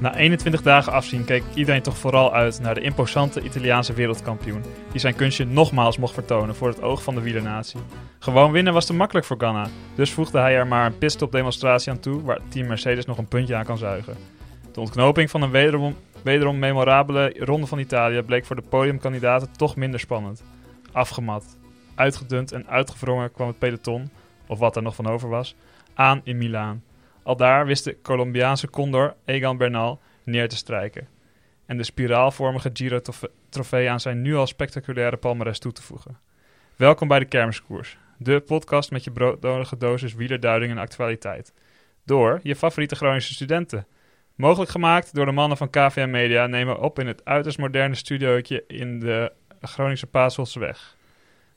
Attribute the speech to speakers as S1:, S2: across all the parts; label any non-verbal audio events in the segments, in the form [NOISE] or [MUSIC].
S1: Na 21 dagen afzien keek iedereen toch vooral uit naar de imposante Italiaanse wereldkampioen, die zijn kunstje nogmaals mocht vertonen voor het oog van de wielernatie. Gewoon winnen was te makkelijk voor Ganna, dus voegde hij er maar een pitstop demonstratie aan toe waar Team Mercedes nog een puntje aan kan zuigen. De ontknoping van een wederom, wederom memorabele ronde van Italië bleek voor de podiumkandidaten toch minder spannend. Afgemat, uitgedund en uitgevrongen kwam het peloton, of wat er nog van over was, aan in Milaan. Al daar wist de Colombiaanse condor Egan Bernal neer te strijken. En de spiraalvormige Giro-trofee aan zijn nu al spectaculaire palmares toe te voegen. Welkom bij de Kermiskoers. De podcast met je broodnodige dosis wielerduiding en actualiteit. Door je favoriete Groningse studenten. Mogelijk gemaakt door de mannen van KVM Media nemen we op in het uiterst moderne studiootje in de Groningse Paashelseweg.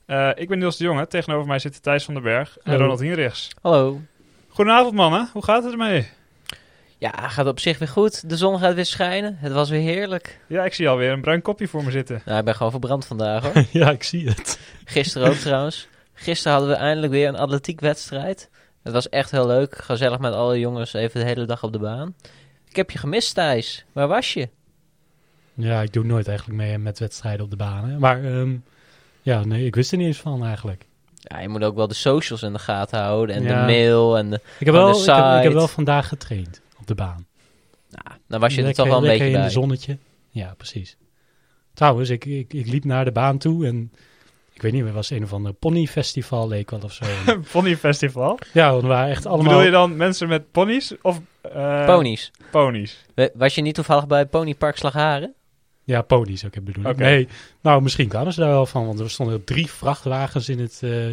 S1: Eh ik ben Niels de Jonge, tegenover mij zitten Thijs van den Berg en
S2: Hallo.
S1: Ronald Hienrichs.
S2: Hallo.
S1: Goedenavond mannen, hoe gaat het ermee?
S2: Ja, gaat op zich weer goed. De zon gaat weer schijnen. Het was weer heerlijk.
S1: Ja, ik zie alweer een bruin kopje voor me zitten. [LAUGHS]
S2: Nou, ik ben gewoon verbrand vandaag [LAUGHS] hoor.
S3: [LAUGHS] Ja, ik zie het.
S2: Gisteren ook trouwens. Gisteren hadden we eindelijk weer een atletiekwedstrijd. Het was echt heel leuk. Gezellig met alle jongens even de hele dag op de baan. Ik heb je gemist Thijs. Waar was je?
S3: Ja, ik doe nooit eigenlijk mee met wedstrijden op de banen. Maar ehm, ja, nee, ik wist er niet eens van eigenlijk.
S2: Ja, je moet ook wel de socials in de gaten houden. En de
S3: Ja.
S2: mail. En de...
S3: Ik heb,
S2: Aan de
S3: wel, ik, heb, ik heb
S2: site.
S3: wel vandaag getraind op de baan.
S2: Nou, dan was je er
S3: Lekker-
S2: toch wel een
S3: lekker
S2: beetje
S3: in
S2: bij.
S3: het zonnetje. Ja, precies. Trouwens, ik, ik, ik liep naar de baan toe en ik weet niet meer, was een of ander ponyfestival leek wel
S2: [LAUGHS]
S3: of zo.
S1: Ponyfestival.
S3: ja, want er waren echt allemaal...
S1: Bedoel je dan mensen met ponies of eh,
S2: Ponies.
S1: ponies?
S2: We- Was je niet toevallig bij Ponypark Slagharen?
S3: Ja, ponies ook, ik bedoel.
S1: Oké.
S3: Nee, nou, misschien kwamen ze daar wel van, want er stonden drie vrachtwagens in het eh,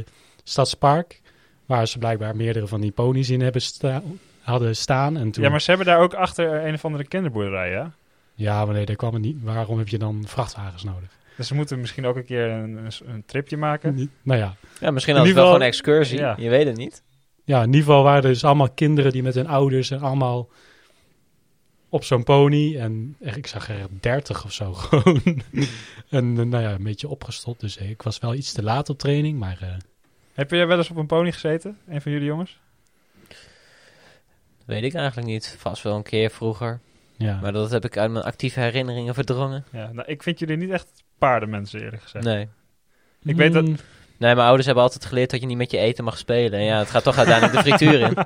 S3: stadspark, waar ze blijkbaar meerdere van die ponies in hebben sta- hadden staan. En toen...
S1: Ja, maar ze hebben daar ook achter een of andere kinderboerderij, ja?
S3: Ja, maar nee, daar kwam het niet. Waarom heb je dan vrachtwagens nodig?
S1: Dus ze moeten misschien ook een keer een, een, een tripje maken.
S3: Nou ja.
S1: In
S2: Ja, misschien hadden
S1: ieder
S2: we wel
S1: geval-
S2: gewoon een excursie.
S1: Ja.
S2: Je weet het niet.
S3: ja, in ieder geval waren er dus allemaal kinderen die met hun ouders en allemaal op zo'n pony. En echt, ik zag er dertig of zo [LAUGHS] gewoon. en eh, nou ja, een beetje opgestopt. Dus eh, ik was wel iets te laat op training, maar eh,
S1: Heb jij wel eens op een pony gezeten? Een van jullie jongens?
S2: Weet ik eigenlijk niet. Vast wel een keer vroeger.
S3: ja.
S2: Maar dat heb ik uit mijn actieve herinneringen verdrongen.
S1: Ja, nou, ik vind jullie niet echt paardenmensen, eerlijk gezegd.
S2: Nee.
S1: ik weet dat-
S3: Mm,
S2: Nee, mijn ouders hebben altijd geleerd dat je niet met je eten mag spelen. En ja, het gaat toch uiteindelijk de frituur in.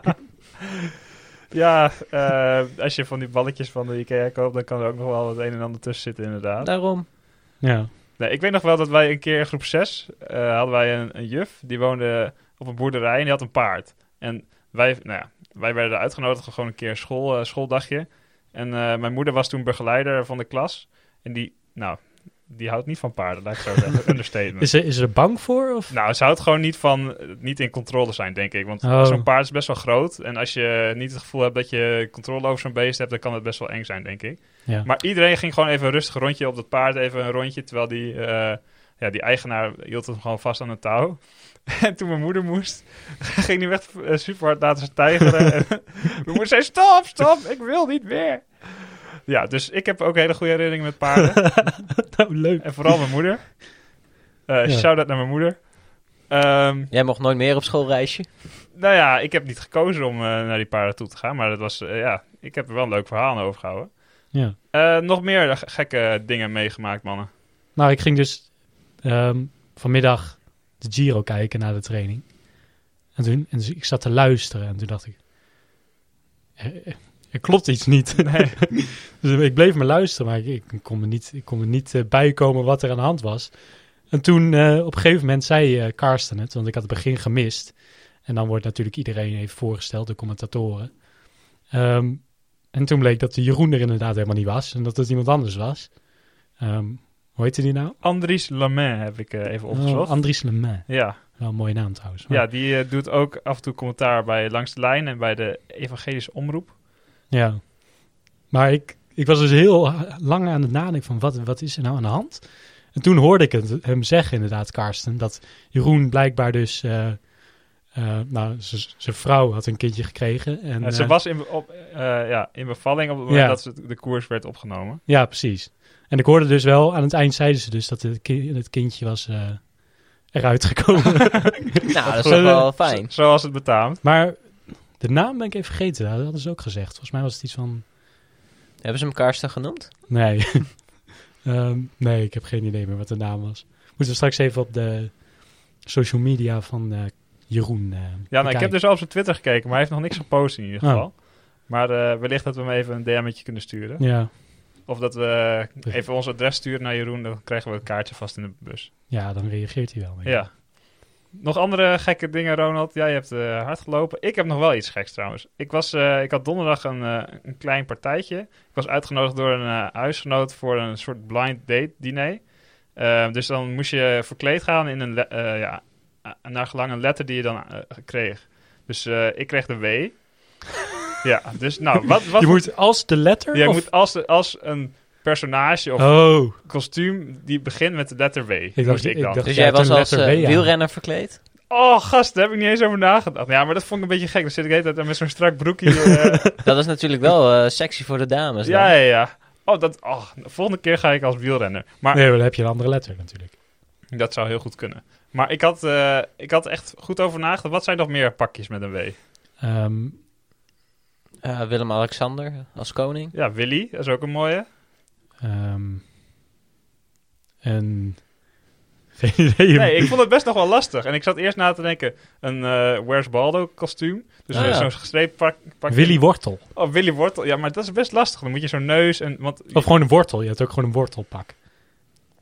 S1: Ja, eh, als je van die balletjes van de Ikea koopt, dan kan er ook nog wel het een en ander tussen zitten, inderdaad.
S2: Daarom.
S3: Ja,
S1: Nee, ik weet nog wel dat wij een keer in groep 6 eh, hadden wij een, een juf. Die woonde op een boerderij en die had een paard. En wij, nou ja, wij werden uitgenodigd voor gewoon een keer een school, eh, schooldagje. En eh, mijn moeder was toen begeleider van de klas. En die, nou, die houdt niet van paarden, laat ik zo
S3: [LAUGHS]
S1: zeggen. Understatement.
S3: Is, er, is er bang voor? Of?
S1: Nou, ze houdt gewoon niet van eh, niet in controle zijn, denk ik. Want
S3: Oh.
S1: zo'n paard is best wel groot. En als je niet het gevoel hebt dat je controle over zo'n beest hebt, dan kan het best wel eng zijn, denk ik.
S3: Ja.
S1: Maar iedereen ging gewoon even een rustig rondje op dat paard, even een rondje. Terwijl die, eh, ja, die eigenaar hield hem gewoon vast aan een touw. [LAUGHS] En toen mijn moeder moest, [LAUGHS] ging die echt eh, super hard laten stijgeren. en mijn moeder zei, stop, stop, ik wil niet meer. Ja, dus ik heb ook hele goede herinneringen met paarden.
S3: [LAUGHS] nou, leuk.
S1: en vooral mijn moeder. Eh
S3: Ja.
S1: Shout-out naar mijn moeder. Ehm,
S2: Jij mocht nooit meer op schoolreisje.
S1: nou ja, ik heb niet gekozen om eh, naar die paarden toe te gaan. Maar dat was, eh, ja, ik heb er wel een leuk verhaal aan overgehouden.
S3: Ja.
S1: Eh, nog meer ge- gekke dingen meegemaakt, mannen.
S3: Nou, ik ging dus ehm, vanmiddag de Giro kijken na de training. En toen, en dus ik zat te luisteren en toen dacht ik, er, er- er klopt iets niet. [LAUGHS] dus ik bleef maar luisteren, maar ik, ik kon me niet, ik kon me niet eh, bijkomen wat er aan de hand was. En toen eh, op een gegeven moment zei eh, Karsten het, want ik had het begin gemist. En dan wordt natuurlijk iedereen even voorgesteld, de commentatoren. Ehm, en toen bleek dat de Jeroen er inderdaad helemaal niet was en dat het iemand anders was. Ehm, hoe heette die nou?
S1: Andries Lemain heb ik eh, even opgezocht.
S3: Oh, Andries Lemain.
S1: ja,
S3: Wel een mooie naam trouwens.
S1: ja, die eh, doet ook af en toe commentaar bij Langs de Lijn en bij de Evangelische Omroep.
S3: Ja. Maar ik, ik was dus heel ha- lang aan het nadenken van wat, wat is er nou aan de hand? En toen hoorde ik het, hem zeggen inderdaad, Karsten, dat Jeroen blijkbaar dus eh, Eh, nou, z- zijn vrouw had een kindje gekregen. En,
S1: Ja, ze
S3: eh,
S1: was in, be- op, eh, ja, in bevalling op het moment
S3: Ja.
S1: dat ze de koers werd opgenomen.
S3: Ja, precies. En ik hoorde dus wel, aan het eind zeiden ze dus dat het, ki- het kindje was eh, eruit
S1: [LAUGHS]
S3: gekomen.
S2: Nou, dat is
S3: goed.
S2: toch wel
S1: Zo-
S2: fijn.
S1: Zoals het betaamt.
S3: maar de naam ben ik even vergeten, dat hadden ze ook gezegd. Volgens mij was het iets van,
S2: Hebben ze hem Karsten genoemd?
S3: nee. [LAUGHS] Ehm, nee, ik heb geen idee meer wat de naam was. Moeten we straks even op de social media van eh, Jeroen eh,
S1: Ja, nou, ik heb
S3: bekijken.
S1: dus al op zijn Twitter gekeken, maar hij heeft nog niks gepost in ieder
S3: Oh.
S1: geval. Maar eh, wellicht dat we hem even een DM'tje kunnen sturen.
S3: Ja,
S1: Of dat we even ons adres sturen naar Jeroen, dan krijgen we het kaartje vast in de bus.
S3: ja, dan reageert hij wel. denk ik.
S1: Ja. Nog andere gekke dingen, Ronald. Jij hebt eh, hard gelopen. Ik heb nog wel iets geks trouwens. Ik, was, eh, ik had donderdag een, eh, een klein partijtje. Ik was uitgenodigd door een eh, huisgenoot voor een soort blind date diner. Eh, dus dan moest je verkleed gaan in een le- eh, ja, a- naar gelang een letter die je dan eh, kreeg. Dus eh, ik kreeg de
S3: [LAUGHS]
S1: W. ja, dus nou, wat, wat
S3: Je moet als de letter?
S1: Ja, je
S3: of-
S1: moet als, de- als een personage of
S3: Oh,
S1: kostuum die begint met de letter W.
S3: dacht-
S1: moest ik
S3: ik
S1: dan.
S3: dacht-
S2: Dus
S3: Ja,
S2: jij
S3: toen
S2: was als
S3: letter
S2: eh,
S3: W, ja.
S2: wielrenner verkleed?
S1: Oh, gast, daar heb ik niet eens over nagedacht. Ja, maar dat vond ik een beetje gek. Dan zit ik de hele tijd met zo'n strak broekje. eh,
S2: Dat is natuurlijk wel eh, sexy voor de dames. dan.
S1: ja, ja, ja. Oh, dat, oh, de volgende keer ga ik als wielrenner. Maar
S3: nee, maar dan heb je een andere letter natuurlijk.
S1: dat zou heel goed kunnen. Maar ik had, eh, ik had echt goed over nagedacht. Wat zijn nog meer pakjes met een W?
S3: Ehm,
S2: Eh, Willem-Alexander als koning.
S1: Ja, Willy, dat is ook een mooie.
S3: Ehm en. [LAUGHS] Geen idee.
S1: Nee, ik vond het best nog wel lastig. En ik zat eerst na te denken, een eh Where's Baldo kostuum. Dus
S2: Ah, ja.
S1: zo'n gestreept pak, pakje.
S3: Willy Wortel.
S1: Oh, Willy Wortel. Ja, maar dat is best lastig. Dan moet je zo'n neus en... Want
S3: Of gewoon een wortel. Je had ook gewoon een wortelpak.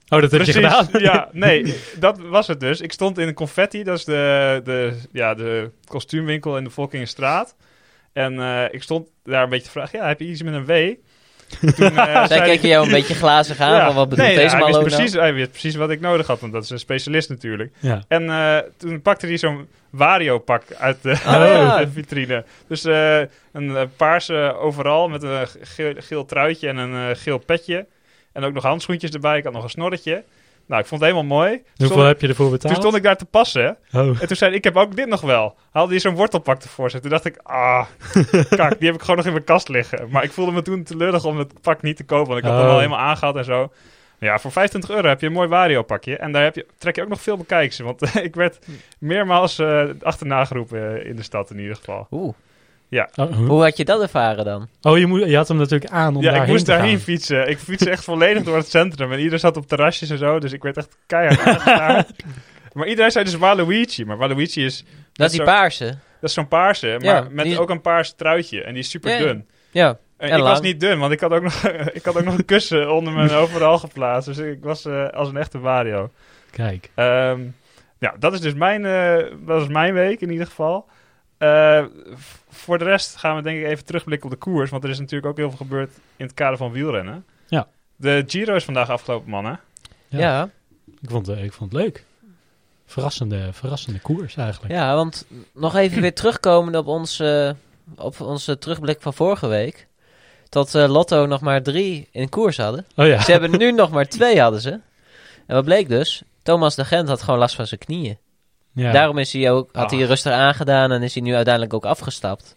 S3: Oh, dat heb
S1: [LAUGHS]
S3: je gedaan?
S1: Ja, nee, dat was het dus. Ik stond in een confetti, dat is de, de, ja, de kostuumwinkel in de Volkingenstraat. En eh, ik stond daar een beetje te vragen, ja, heb je iets met een W? Toen, eh,
S2: [LAUGHS] Zij
S1: zei
S2: keken jou een beetje glazig aan,
S1: Ja,
S2: van wat bedoelt
S1: nee,
S2: deze
S1: hij
S2: man
S1: wist,
S2: ook
S1: precies,
S2: nou?
S1: hij wist precies wat ik nodig had, want dat is een specialist natuurlijk.
S3: Ja.
S1: En eh, toen pakte hij zo'n Wario-pak uit de,
S3: Oh,
S2: ja.
S1: [LAUGHS] uit de vitrine. Dus eh, een eh, paarse overal met een eh, geel, geel truitje en een eh, geel petje. En ook nog handschoentjes erbij. Ik had nog een snorretje. Nou, ik vond het helemaal mooi.
S3: Hoeveel
S1: Stond-
S3: heb je ervoor
S1: toen
S3: betaald?
S1: stond ik daar te passen.
S3: Oh.
S1: En toen zei hij, ik heb ook dit nog wel. Haalde hij zo'n wortelpak ervoor. Toen dacht ik,
S3: [LAUGHS]
S1: ah, kak, die heb ik gewoon nog in mijn kast liggen. Maar ik voelde me toen teleurig om het pak niet te kopen. Want ik had
S3: Oh.
S1: hem al helemaal aangehad en zo. Ja, voor 25 euro heb je een mooi Wario pakje. En daar heb je, trek je ook nog veel bekijks. Want [LAUGHS] ik werd meermaals eh, achterna geroepen eh, in de stad in ieder geval.
S2: Oeh,
S3: Oh, huh?
S2: hoe had je dat ervaren dan?
S3: Oh, je, moet, je had hem natuurlijk aan om
S1: ja, ik
S3: daarheen
S1: moest
S3: te gaan.
S1: daarheen fietsen. Ik fietste echt volledig door het centrum. En iedereen zat op terrasjes en zo. Dus ik werd echt keihard
S3: [LAUGHS]
S1: aangestaard. Maar iedereen zei dus Waluigi. Maar Waluigi is...
S2: Dat is die
S1: zo-
S2: paarse.
S1: Dat is zo'n paarse, maar
S2: Ja,
S1: met
S2: die is-
S1: ook een paars truitje. En die is super
S2: Ja, ja.
S1: dun.
S2: Ja,
S1: En,
S2: En
S1: ik was
S2: lang.
S1: niet dun, want ik had ook nog, [LAUGHS] ik had ook nog een kussen onder
S3: [LAUGHS]
S1: mijn overal geplaatst. Dus ik was eh, als een echte Wario.
S3: Kijk.
S1: Ehm, ja, dat is dus mijn, eh, dat is mijn week in ieder geval. Eh, v- voor de rest gaan we denk ik even terugblikken op de koers. Want er is natuurlijk ook heel veel gebeurd in het kader van wielrennen.
S3: Ja.
S1: De Giro is vandaag afgelopen, mannen.
S3: Ja.
S2: ja. ja.
S3: Ik vond, eh, ik vond het leuk. Verrassende, verrassende koers eigenlijk.
S2: Ja, want nog even weer terugkomend op onze, op onze terugblik van vorige week. Dat eh, Lotto nog maar drie in koers hadden.
S3: Oh ja.
S2: Ze
S1: [LAUGHS]
S2: hebben nu nog maar twee hadden ze. En wat bleek dus? Thomas de Gent had gewoon last van zijn knieën.
S3: ja.
S2: Daarom is hij ook, had hij
S1: Ah.
S2: rustig aangedaan en is hij nu uiteindelijk ook afgestapt.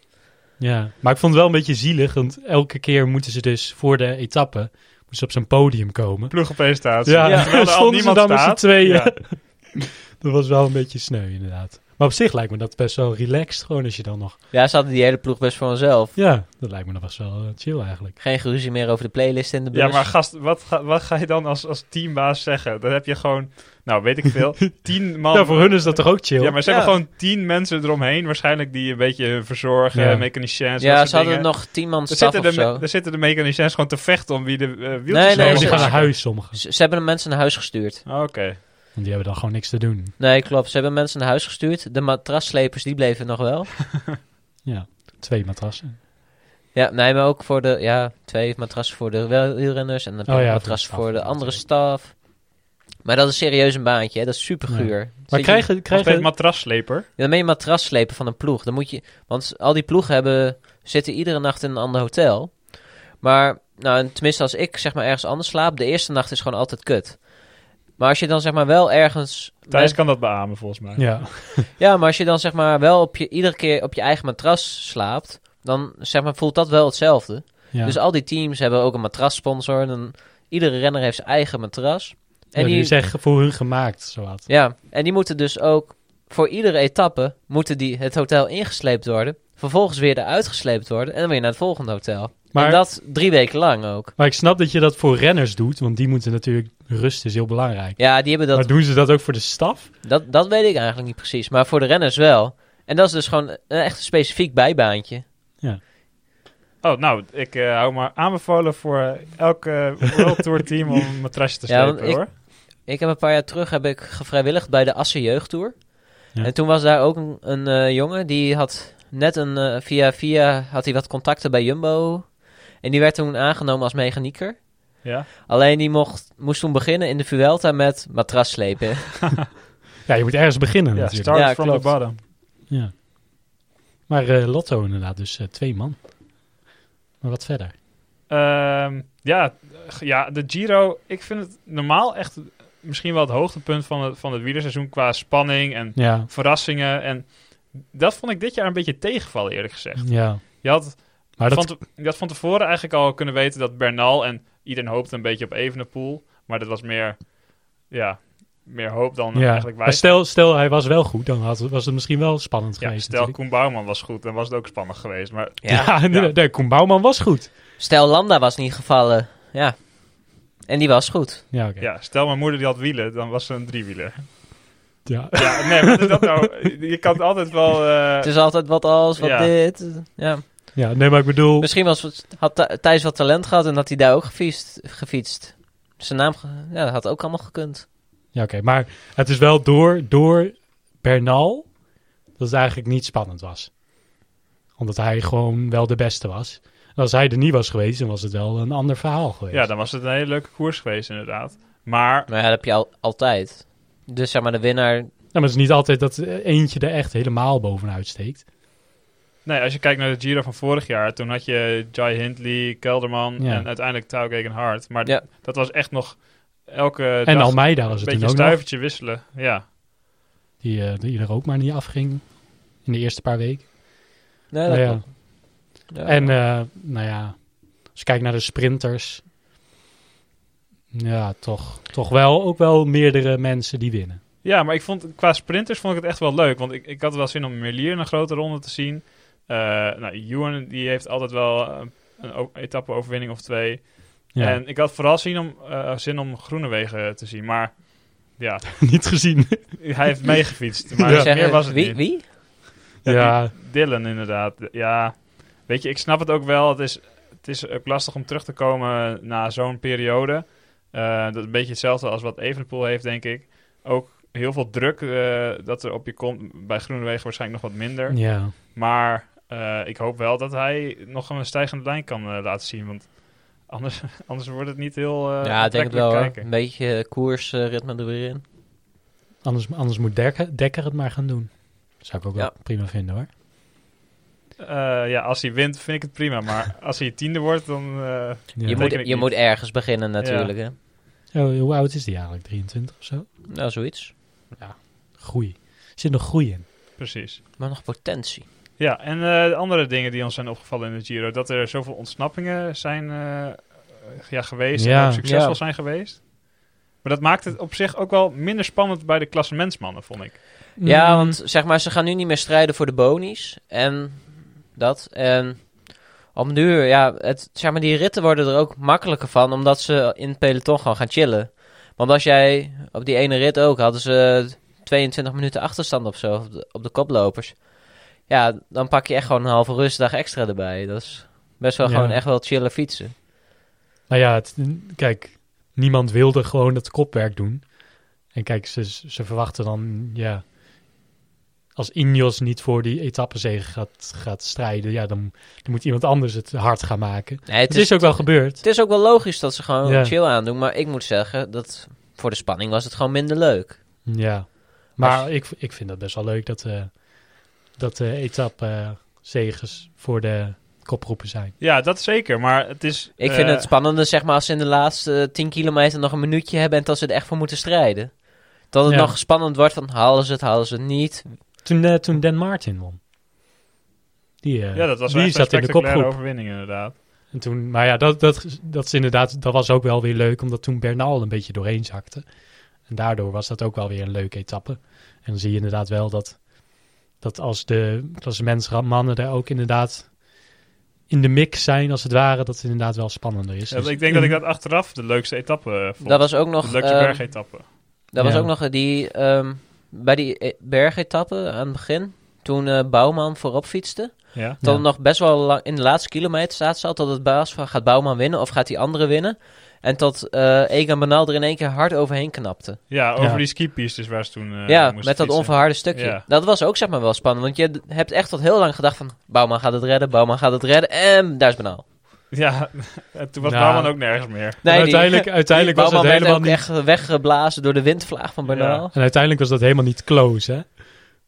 S3: Ja, maar ik vond het wel een beetje zielig, want elke keer moeten ze dus voor de etappe moeten ze op zo'n podium komen.
S1: Ploegenpresentatie.
S3: Ja,
S1: Terwijl er al
S3: [LAUGHS] stonden ze
S1: niemand
S3: dan met z'n
S1: staat.
S3: tweeën.
S1: Ja.
S3: Dat was wel een beetje sneu, inderdaad. Maar op zich lijkt me dat best wel relaxed, gewoon als je dan nog...
S2: Ja, ze hadden die hele ploeg best voor hunzelf.
S3: Ja, dat lijkt me nog best wel eh, chill eigenlijk.
S2: Geen geruzie meer over de playlist in de bus.
S3: Dus-
S1: Ja, maar gast, wat ga, wat ga je dan als, als teambaas zeggen? Dan heb je gewoon, nou weet ik
S3: [LAUGHS]
S1: veel, tien man.
S3: Ja, voor hun is dat toch ook chill?
S1: Ja, maar ze
S2: Ja.
S1: hebben gewoon tien mensen eromheen waarschijnlijk die een beetje hun verzorgen,
S3: Ja.
S1: mechaniciens, dat
S2: ja
S1: soort
S2: ze hadden
S1: dingen.
S2: nog tien man
S1: Er
S2: staf
S1: zitten,
S2: of
S1: de, me-
S2: zo.
S1: er zitten de mechaniciens gewoon te vechten om wie de eh, wieltjes
S2: Nee,
S3: Nee,
S1: mogen
S3: maar ze gaan naar
S1: wassen.
S3: huis, sommigen.
S2: Ze, ze hebben de mensen naar huis gestuurd.
S1: Oh, Oké.
S3: Want die hebben dan gewoon niks te doen.
S2: Nee, klopt. Ze hebben mensen naar huis gestuurd. De matrasslepers, die bleven nog wel.
S3: Ja, twee matrassen.
S2: Ja, nee, maar ook voor de... Ja, twee matrassen voor de wielrenners... en een
S3: Oh ja, voor de
S2: matras
S3: staf.
S2: voor de andere staf. Maar dat is serieus een baantje, hè. Dat is super guur.
S3: Maar krijgen...
S1: Krijg een
S3: krijgen
S1: matrassleper.
S2: Dan ben je een matras slepen van een ploeg. Dan moet je... Want al die ploegen hebben, zitten iedere nacht in een ander hotel. Maar, nou, en tenminste als ik zeg maar ergens anders slaap... de eerste nacht is gewoon altijd kut. Maar als je dan zeg maar wel ergens...
S1: Thijs kan dat beamen volgens mij.
S3: Ja.
S2: Ja, maar als je dan zeg maar wel op je, iedere keer op je eigen matras slaapt, dan zeg maar voelt dat wel hetzelfde.
S3: ja.
S2: Dus al die teams hebben ook een matrassponsor. En dan, iedere renner heeft zijn eigen matras. En
S3: Ja, die
S2: die,
S3: is echt voor hun gemaakt, zowat.
S2: ja, en die moeten dus ook voor iedere etappe moeten die het hotel ingesleept worden. Vervolgens weer eruit gesleept worden en dan weer naar het volgende hotel.
S3: Maar-
S2: en dat drie weken lang ook.
S3: Maar ik snap dat je dat voor renners doet, want die moeten natuurlijk... Rust is heel belangrijk.
S2: Ja, die hebben dat,
S3: Maar doen ze dat ook voor de staf?
S2: dat. Dat weet ik eigenlijk niet precies. Maar voor de renners wel. En dat is dus gewoon een echt specifiek bijbaantje.
S1: Oh, nou, ik eh, hou maar aanbevolen voor eh, elk eh, World Tour team om een matrasje te
S2: Ja,
S1: slepen,
S2: want ik-
S1: hoor.
S2: Ik heb een paar jaar terug heb ik gevrijwilligd bij de Assen Jeugdtour.
S3: Ja.
S2: En toen was daar ook een, een eh, jongen die had net een eh, via via had hij wat contacten bij Jumbo. En die werd toen aangenomen als mechanieker.
S1: Ja.
S2: Alleen die mocht, moest toen beginnen in de Vuelta met matras slepen.
S3: Ja, je moet ergens beginnen
S1: ja,
S3: natuurlijk.
S1: start
S2: Ja,
S1: from
S2: klopt.
S1: the bottom.
S3: Ja. Maar eh, Lotto inderdaad, dus eh, twee man. Maar wat verder?
S1: Ehm, ja, g- ja, de Giro, ik vind het normaal echt misschien wel het hoogtepunt van het, van het wielerseizoen qua spanning en
S3: Ja,
S1: verrassingen. En dat vond ik dit jaar een beetje tegenvallen, eerlijk gezegd.
S3: ja.
S1: Je had,
S3: Maar dat,
S1: van, te- je had van tevoren eigenlijk al kunnen weten dat Bernal en iedereen hoopte een beetje op Evenepoel. Maar dat was meer, ja, meer hoop dan
S3: ja.
S1: eigenlijk
S3: Maar
S1: wij.
S3: stel, stel hij was wel goed, dan had, was het misschien wel spannend
S1: Ja,
S3: geweest.
S1: stel
S3: natuurlijk.
S1: Koen Bouwman was goed, dan was het ook spannend geweest. Maar
S2: Ja.
S3: [LAUGHS] Ja, inderdaad. Nee, Koen Bouwman was goed.
S2: Stel Landa was niet gevallen. Ja. En die was goed.
S3: Ja, oké.
S1: ja, stel mijn moeder die had wielen, dan was ze een driewieler.
S3: Ja.
S1: Ja, nee, wat is dat nou? Je kan het altijd wel... eh,
S2: Het is altijd wat als, wat
S1: Ja.
S2: dit. Ja.
S3: ja, nee, maar ik bedoel...
S2: Misschien was, het- had Thij- Thijs wat talent gehad en had hij daar ook gefietst. gefietst. Zijn naam ge- ja, dat had ook allemaal gekund.
S3: Ja, oké. Maar het is wel door, door Bernal dat het eigenlijk niet spannend was. Omdat hij gewoon wel de beste was. En als hij er niet was geweest, dan was het wel een ander verhaal geweest.
S1: Ja, dan was het een hele leuke koers geweest, inderdaad. Maar
S2: Nou ja, dat heb je al, altijd. Dus zeg maar, de winnaar...
S3: Ja, Nou, maar het is niet altijd dat eh, eentje er echt helemaal bovenuit steekt.
S1: nee, als je kijkt naar de Giro van vorig jaar, toen had je Jai Hindley, Kelderman
S3: Ja.
S1: en uiteindelijk Tauwgegen Hart. Maar
S2: Ja.
S1: dat was echt nog elke
S3: en
S1: dag
S3: Almeida was
S1: een
S3: het toen
S1: beetje
S3: ook
S1: een
S3: nog,
S1: stuivertje wisselen. Ja.
S3: die, eh, die er ook maar niet afging in de eerste paar weken.
S2: Nee,
S3: Nou ja.
S2: klopt. Ja.
S3: En eh, nou ja, als je kijkt naar de sprinters, ja, toch, toch wel ook wel meerdere mensen die winnen.
S1: ja, maar ik vond, qua sprinters vond ik het echt wel leuk. Want ik, ik had wel zin om Merlier in een grote ronde te zien. Eh nou, Ewan, die heeft altijd wel eh, een o- etappe-overwinning of twee.
S3: Ja,
S1: En ik had vooral zin om, eh, zin om Groenewegen te zien. Maar ja,
S3: [LAUGHS] niet gezien.
S1: hij
S3: [LAUGHS]
S1: heeft meegefietst. Maar
S3: Ja.
S2: Zeg,
S1: meer
S2: eh,
S1: was het
S2: wie,
S1: niet.
S2: Wie?
S1: Ja,
S3: ja,
S1: Dylan inderdaad. Ja, weet je, ik snap het ook wel. Het is, het is ook lastig om terug te komen na zo'n periode. Eh, dat is een beetje hetzelfde als wat Evenepoel heeft, denk ik. Ook heel veel druk eh, dat er op je komt. Bij Groenewegen waarschijnlijk nog wat minder.
S3: ja.
S1: Maar eh, ik hoop wel dat hij nog een stijgende lijn kan eh, laten zien. Want anders, [LAUGHS] anders wordt het niet heel eh
S2: ja, ik denk het wel. hoor.
S1: aantrekkelijk
S2: Een beetje koersritme er weer in.
S3: Anders, anders moet Dekker, Dekker het maar gaan doen. Zou ik ook
S2: Ja.
S3: wel prima vinden hoor.
S1: Eh, ja, als hij wint vind ik het prima. Maar als hij tiende wordt, dan... eh,
S3: Ja.
S2: je moet,
S1: Teken ik
S2: je
S1: niet.
S2: moet ergens beginnen natuurlijk, hè.
S3: Oh, hoe oud is die eigenlijk? 23 of zo?
S2: Nou, zoiets.
S3: Groei. Er zit nog groei in.
S1: precies.
S2: Maar nog potentie.
S1: Ja, en eh, de andere dingen die ons zijn opgevallen in de Giro, dat er zoveel ontsnappingen zijn eh, ja, geweest en
S3: Ja.
S1: ook succesvol
S2: Ja.
S1: zijn geweest. Maar dat maakt het op zich ook wel minder spannend bij de klassementsmannen, vond ik.
S2: Ja,
S3: Mm,
S2: want zeg maar, ze gaan nu niet meer strijden voor de bonies. En dat. En op nu, ja, het, zeg maar, die ritten worden er ook makkelijker van. Omdat ze in het peloton gewoon gaan chillen. Want als jij op die ene rit ook, hadden ze 22 minuten achterstand of zo op de, op de koplopers. Ja, dan pak je echt gewoon een halve rustdag extra erbij. Dat is best wel
S3: Ja.
S2: gewoon echt wel chillen fietsen.
S3: Nou ja, het- kijk, niemand wilde gewoon dat kopwerk doen. En kijk, ze, ze verwachten dan, ja, als Ineos niet voor die etappezegen gaat, gaat strijden, ja, dan, dan moet iemand anders het hard gaan maken.
S2: Nee,
S3: Het, is, ook wel gebeurd.
S2: het is ook wel logisch dat ze gewoon
S3: Ja.
S2: chill aandoen. Maar ik moet zeggen dat voor de spanning was het gewoon minder leuk.
S3: Ja, maar ik, ik eh, vind dat best wel leuk dat, eh dat de etappezegers voor de koproepen zijn.
S1: Ja, dat zeker. Maar het is.
S2: Ik
S1: eh,
S2: vind het spannender, zeg maar, als ze in de laatste 10 kilometer nog een minuutje hebben en dat ze er echt voor moeten strijden. Dat het
S3: Ja.
S2: nog spannend wordt van halen ze het, halen ze het niet.
S3: Toen, eh, toen Dan Martin won. Die, eh,
S1: Ja, dat was wel
S3: die
S1: echt een
S3: zat in de
S1: spectaculaire
S3: kopgroep.
S1: overwinning inderdaad.
S3: En toen, maar ja, dat, dat, dat is inderdaad, dat was ook wel weer leuk, omdat toen Bernal een beetje doorheen zakte. En daardoor was dat ook wel weer een leuke etappe. En dan zie je inderdaad wel dat, dat als de klassementsmannen daar ook inderdaad in de mix zijn, als het ware, dat het inderdaad wel spannender is.
S1: Ja,
S3: Dus
S1: ik denk dat ik dat achteraf de leukste etappe eh, vond.
S2: Dat was ook nog,
S1: de leukste
S2: ehm,
S1: bergetappe.
S2: dat was
S3: Ja.
S2: ook nog eh, die, ehm, bij die eh, bergetappe aan het begin, toen eh, Bouwman voorop fietste.
S1: Ja.
S2: Dat
S3: Ja.
S2: het nog best wel lang, in de laatste kilometer staat zat. Dat het baas van gaat Bouwman winnen of gaat die andere winnen. En dat eh Egan Bernal er in één keer hard overheen knapte.
S1: ja, over
S3: Ja.
S1: die skipistes waar ze toen eh,
S2: ja, met
S1: moesten
S2: dat
S1: fietsen.
S2: onverharde stukje.
S1: Ja.
S2: Dat was ook zeg maar wel spannend. Want je d- hebt echt tot heel lang gedacht van... Bouwman gaat het redden, Bouwman gaat het redden. En daar is Bernal.
S1: [LAUGHS] Ja, en toen was
S3: Nou.
S1: Bouwman ook nergens meer.
S2: Nee,
S3: en
S2: die- [LAUGHS]
S3: uiteindelijk, uiteindelijk was dat
S2: Bouwman
S3: helemaal
S2: werd
S3: niet.
S2: ook echt weggeblazen door de windvlaag van Bernal.
S1: Ja.
S3: En uiteindelijk was dat helemaal niet close, hè?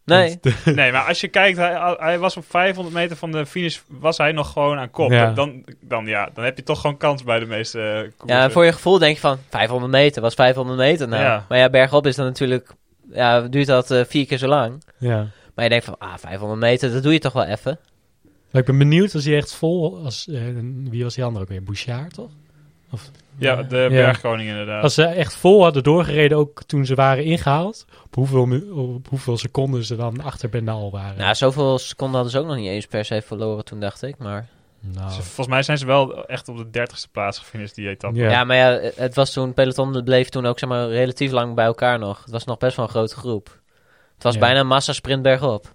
S2: Nee,
S1: Nee, maar als je kijkt, hij, hij was op 500 meter van de finish, was hij nog gewoon aan kop.
S3: Ja.
S1: Dan, dan, ja, dan heb je toch gewoon kans bij de meeste eh, koersen.
S2: ja, voor je gevoel denk je van 500 meter, was 500 meter nou.
S1: Ja.
S2: Maar ja, bergop is dan natuurlijk... Ja, duurt dat eh, vier keer zo lang.
S3: Ja.
S2: Maar je denkt van, ah, 500 meter, dat doe je toch wel even.
S3: Maar ik ben benieuwd, was hij echt vol? Als, eh, wie was die andere ook weer? Bouchard, toch? Of,
S1: Ja, de bergkoning inderdaad.
S3: Als ze echt vol hadden doorgereden, ook toen ze waren ingehaald, op hoeveel, mu- op hoeveel seconden ze dan achter Bernal waren.
S2: Nou, zoveel seconden hadden ze ook nog niet eens per se verloren toen, dacht ik. Maar
S3: Nou,
S1: Ze- volgens mij zijn ze wel echt op de dertigste plaats gefinished die etappe.
S3: Ja.
S2: ja. maar ja, het was toen, peloton bleef toen ook zeg maar relatief lang bij elkaar nog. Het was nog best wel een grote groep. Het was
S3: Ja.
S2: bijna een massasprint bergop.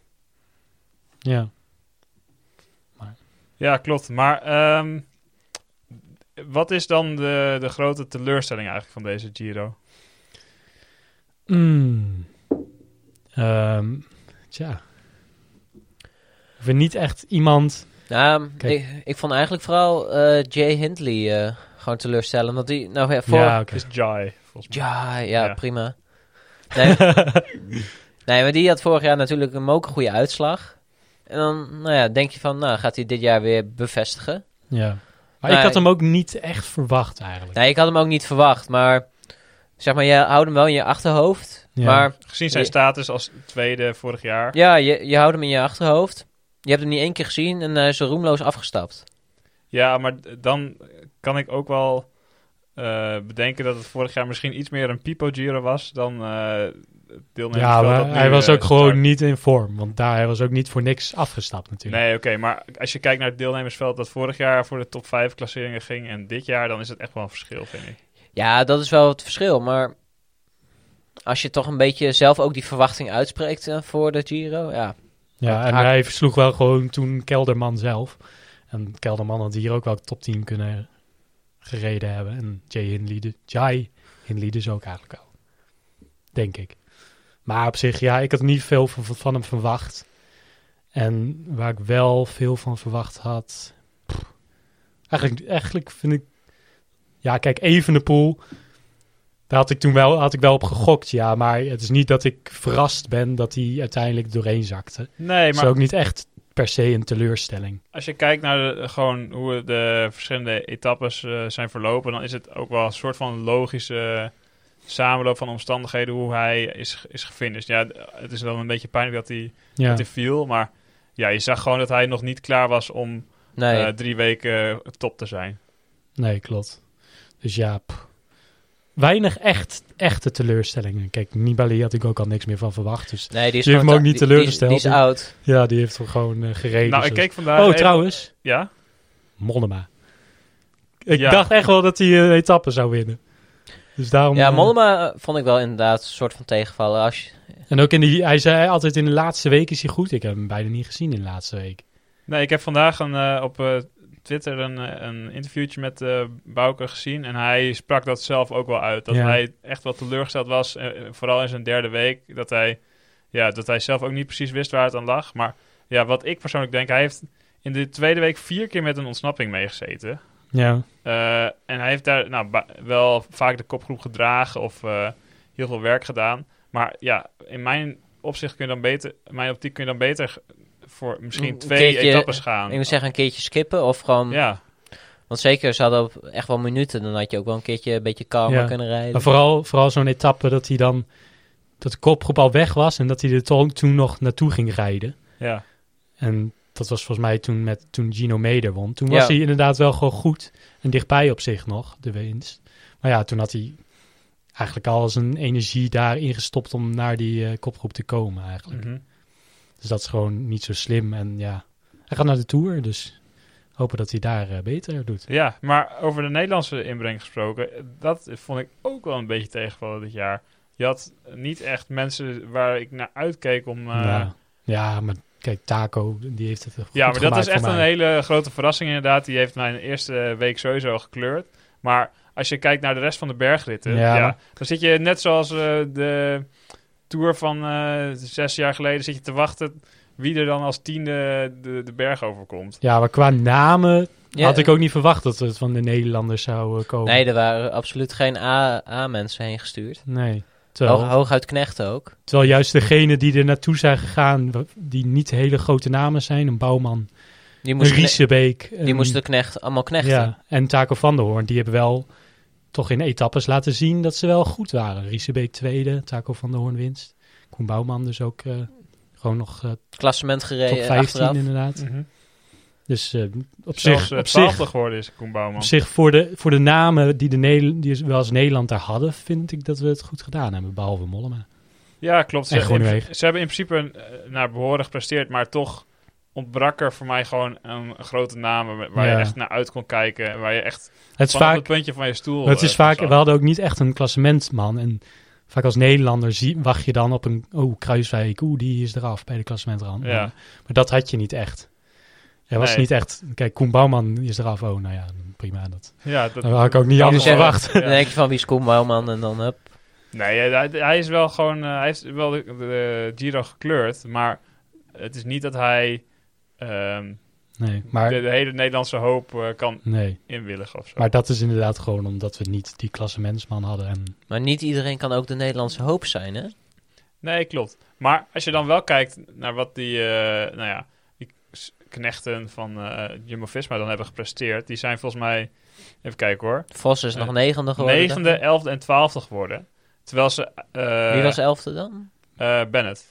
S3: ja.
S1: Ja, klopt. Maar ehm, wat is dan de, de grote teleurstelling eigenlijk van deze Giro?
S3: Mm. Ehm, tja. Ik vind niet echt iemand...
S2: Nou,
S3: Kijk.
S2: ik, ik vond eigenlijk vooral eh, Jay Hindley eh, gewoon teleurstellend. Want die, nou ja, voor...
S3: Ja,
S2: Ja,
S3: oké.
S1: Is Jai, volgens mij.
S2: ja,
S1: Ja.
S2: prima.
S3: [LAUGHS]
S2: Nee. nee, maar die had vorig jaar natuurlijk een ook een goede uitslag. En dan, nou ja, denk je van, nou, gaat hij dit jaar weer bevestigen.
S3: Ja. Maar
S2: Nee.
S3: ik had hem ook niet echt verwacht eigenlijk.
S2: Nee, ik had hem ook niet verwacht, maar zeg maar, je houdt hem wel in je achterhoofd.
S3: Ja.
S2: Maar
S1: Gezien zijn
S2: Ja.
S1: status als tweede vorig jaar.
S2: ja, je, je houdt hem in je achterhoofd. Je hebt hem niet één keer gezien en hij is er roemloos afgestapt.
S1: Ja, maar d- dan kan ik ook wel eh, bedenken dat het vorig jaar misschien iets meer een Pipo Giro was dan eh deelnemers.
S3: Ja, maar hij was
S1: eh,
S3: ook eh, gewoon niet in vorm. Want daar, hij was ook niet voor niks afgestapt natuurlijk.
S1: Nee, oké, maar als je kijkt naar het deelnemersveld dat vorig jaar voor de top 5 klasseringen ging en dit jaar, dan is het echt wel een verschil, vind ik.
S2: Ja, dat is wel het verschil, maar als je toch een beetje zelf ook die verwachting uitspreekt eh, voor de Giro, ja.
S3: Ja, en
S2: Haar-
S3: hij versloeg wel gewoon toen Kelderman zelf. En Kelderman had hier ook wel top 10 kunnen gereden hebben. En Jay Hindley, de- Jai Hindley dus ook eigenlijk wel. Denk ik. Maar op zich, ja, ik had niet veel van, van hem verwacht. En waar ik wel veel van verwacht had... pff, eigenlijk, eigenlijk vind ik... Ja, kijk, Evenepoel... Daar had ik toen wel, had ik wel op gegokt, ja. Maar het is niet dat ik verrast ben dat hij uiteindelijk doorheen zakte.
S1: Nee,
S3: Het
S1: maar
S3: is ook niet echt per se een teleurstelling.
S1: als je kijkt naar de- gewoon hoe de verschillende etappes eh, zijn verlopen, dan is het ook wel een soort van logische samenloop van omstandigheden hoe hij is, is gefinished. Ja, d- het is dan een beetje pijnlijk dat hij
S3: Ja,
S1: te veel. Maar ja, je zag gewoon dat hij nog niet klaar was om
S2: Nee,
S1: eh, drie weken top te zijn.
S3: nee, klopt. Dus ja, pff. weinig echt, echte teleurstellingen. Kijk, Nibali had ik ook al niks meer van verwacht. Dus
S2: nee die is
S3: je
S2: gewoon
S3: hebt hem ook
S2: te-
S3: niet
S2: die-
S3: teleurgesteld,
S2: Die, is- die is
S3: hè?
S2: oud.
S3: ja, die heeft er gewoon eh, gereden.
S1: nou, ik
S3: zoals-
S1: keek vandaag...
S3: Oh,
S1: even-
S3: trouwens,
S1: Ja?
S3: eh, Mollema. Ik
S1: Ja.
S3: dacht echt wel dat hij een etappe zou winnen. Dus daarom,
S2: Ja,
S3: eh,
S2: Mollema eh, vond ik wel inderdaad een soort van tegenvallen. Als je,
S3: En ook in die, hij zei altijd in de laatste week is hij goed. Ik heb hem bijna niet gezien in de laatste week.
S1: Nee, ik heb vandaag een, eh, op eh, Twitter een, eh, een interviewtje met eh Bouke gezien. En hij sprak dat zelf ook wel uit. Dat
S3: Ja.
S1: hij echt wel teleurgesteld was. eh, eh, vooral in zijn derde week. Dat hij, ja, dat hij zelf ook niet precies wist waar het aan lag. Maar ja, wat ik persoonlijk denk... Hij heeft in de tweede week vier keer met een ontsnapping meegezeten.
S3: Ja,
S1: Eh, en hij heeft daar nou, ba- wel vaak de kopgroep gedragen of eh, heel veel werk gedaan. Maar ja, in mijn opzicht kun je dan beter, in mijn optiek kun je dan beter g- voor misschien
S2: Een
S1: twee
S2: keertje-
S1: etappes gaan.
S2: Ik moet zeggen, een keertje skippen of gewoon...
S1: Ja,
S2: Want zeker, ze hadden op echt wel minuten. Dan had je ook wel een keertje een beetje kalmer
S3: Ja.
S2: kunnen rijden.
S3: Maar vooral, vooral zo'n etappe dat hij dan... Dat de kopgroep al weg was en dat hij er toch toen nog naartoe ging rijden.
S1: ja.
S3: En dat was volgens mij toen, met, toen Gino Meder won. Toen
S2: Ja.
S3: was hij inderdaad wel gewoon goed en dichtbij op zich nog, de winst. Maar ja, toen had hij eigenlijk al zijn energie daarin gestopt om naar die eh, kopgroep te komen eigenlijk.
S1: mhm.
S3: Dus dat is gewoon niet zo slim. En ja, hij gaat naar de Tour, dus hopen dat hij daar eh, beter doet.
S1: Ja, maar over de Nederlandse inbreng gesproken, eh, dat vond ik ook wel een beetje tegenvallen dit jaar. Je had niet echt mensen waar ik naar uitkeek om. eh,
S3: ja. ja, maar kijk, Taco, die heeft het goed
S1: ja, maar dat
S3: gemaakt
S1: is echt
S3: voor
S1: een
S3: mij.
S1: hele grote verrassing inderdaad. Die heeft mijn eerste week sowieso gekleurd. Maar als je kijkt naar de rest van de bergritten, ja.
S3: Ja.
S1: dan zit je net zoals eh, de tour van eh, zes jaar geleden, zit je te wachten wie er dan als tiende de, de berg overkomt.
S3: Ja, maar qua namen
S2: Ja,
S3: had ik ook niet verwacht dat het van de Nederlanders zou eh, komen.
S2: Nee, er waren absoluut geen A- A-mensen heen gestuurd.
S3: Nee. Terwijl,
S2: Hoog, hooguit knechten ook.
S3: terwijl juist degenen die er naartoe zijn gegaan, wa- die niet hele grote namen zijn, een Bouwman,
S2: Die
S3: een
S2: moesten, kne-
S3: Riesebeek.
S2: die
S3: een-
S2: moesten knecht, allemaal knechten.
S3: Ehm, Ja, en Taco van der Hoorn, die hebben wel toch in etappes laten zien dat ze wel goed waren. Riesebeek tweede, Taco van der Hoorn winst. Koen Bouwman dus ook eh, gewoon nog eh,
S2: Het klassement gereden
S3: top 15
S2: achteraf.
S3: inderdaad. Dus eh, op,
S1: Zelfs
S3: zich,
S1: eh,
S3: op, zich,
S1: twaalfde geworden is Koen Bouwman.
S3: op zich voor de, voor de namen die, de Nel- die we als Nederland daar hadden, vind ik dat we het goed gedaan hebben, behalve Mollema.
S1: Ja, klopt. Ze,
S3: En Groenewegen.
S1: in- ze hebben in principe eh, naar behoren gepresteerd, maar toch ontbrak er voor mij gewoon een grote naam waar- waar
S3: Ja.
S1: je echt naar uit kon kijken. en Waar je echt
S3: Het is
S1: vanaf
S3: vaak
S1: het puntje van je stoel.
S3: Maar het is
S1: eh,
S3: vaak,
S1: zat.
S3: we hadden ook niet echt een klassementman. En vaak als Nederlander zie, wacht je dan op een, oh, Kruiswijk, oeh, die is eraf bij de klassementrand.
S1: Ja.
S3: Maar, maar dat had je niet echt. Er was
S1: Nee.
S3: niet echt, kijk, Koen Bouwman is eraf, oh, nou ja, prima. Dat,
S1: Ja, dat,
S2: Oh.
S3: dat had ik ook niet
S1: kan
S3: anders
S2: dus-
S1: wel.
S3: verwacht.
S1: Ja.
S2: Dan denk je van wie is Koen Bouwman en dan hup.
S1: Nee, eh, hij, hij is wel gewoon. eh, hij heeft wel de, de Giro gekleurd, maar het is niet dat hij ehm,
S3: Nee, maar,
S1: de, de hele Nederlandse hoop eh, kan
S3: nee,
S1: inwilligen of zo.
S3: maar dat is inderdaad gewoon omdat we niet die klassementsman hadden. En,
S2: Maar niet iedereen kan ook de Nederlandse hoop zijn, hè?
S1: Nee, klopt. Maar als je dan wel kijkt naar wat die, eh, nou ja, die s- knechten van eh, Jumbo-Visma dan hebben gepresteerd, die zijn volgens mij, even kijken hoor,
S2: Vos is
S1: Eh,
S2: nog negende geworden.
S1: negende, elfde en twaalfde geworden. Terwijl ze, eh,
S2: Wie was elfde dan?
S1: eh, Bennett.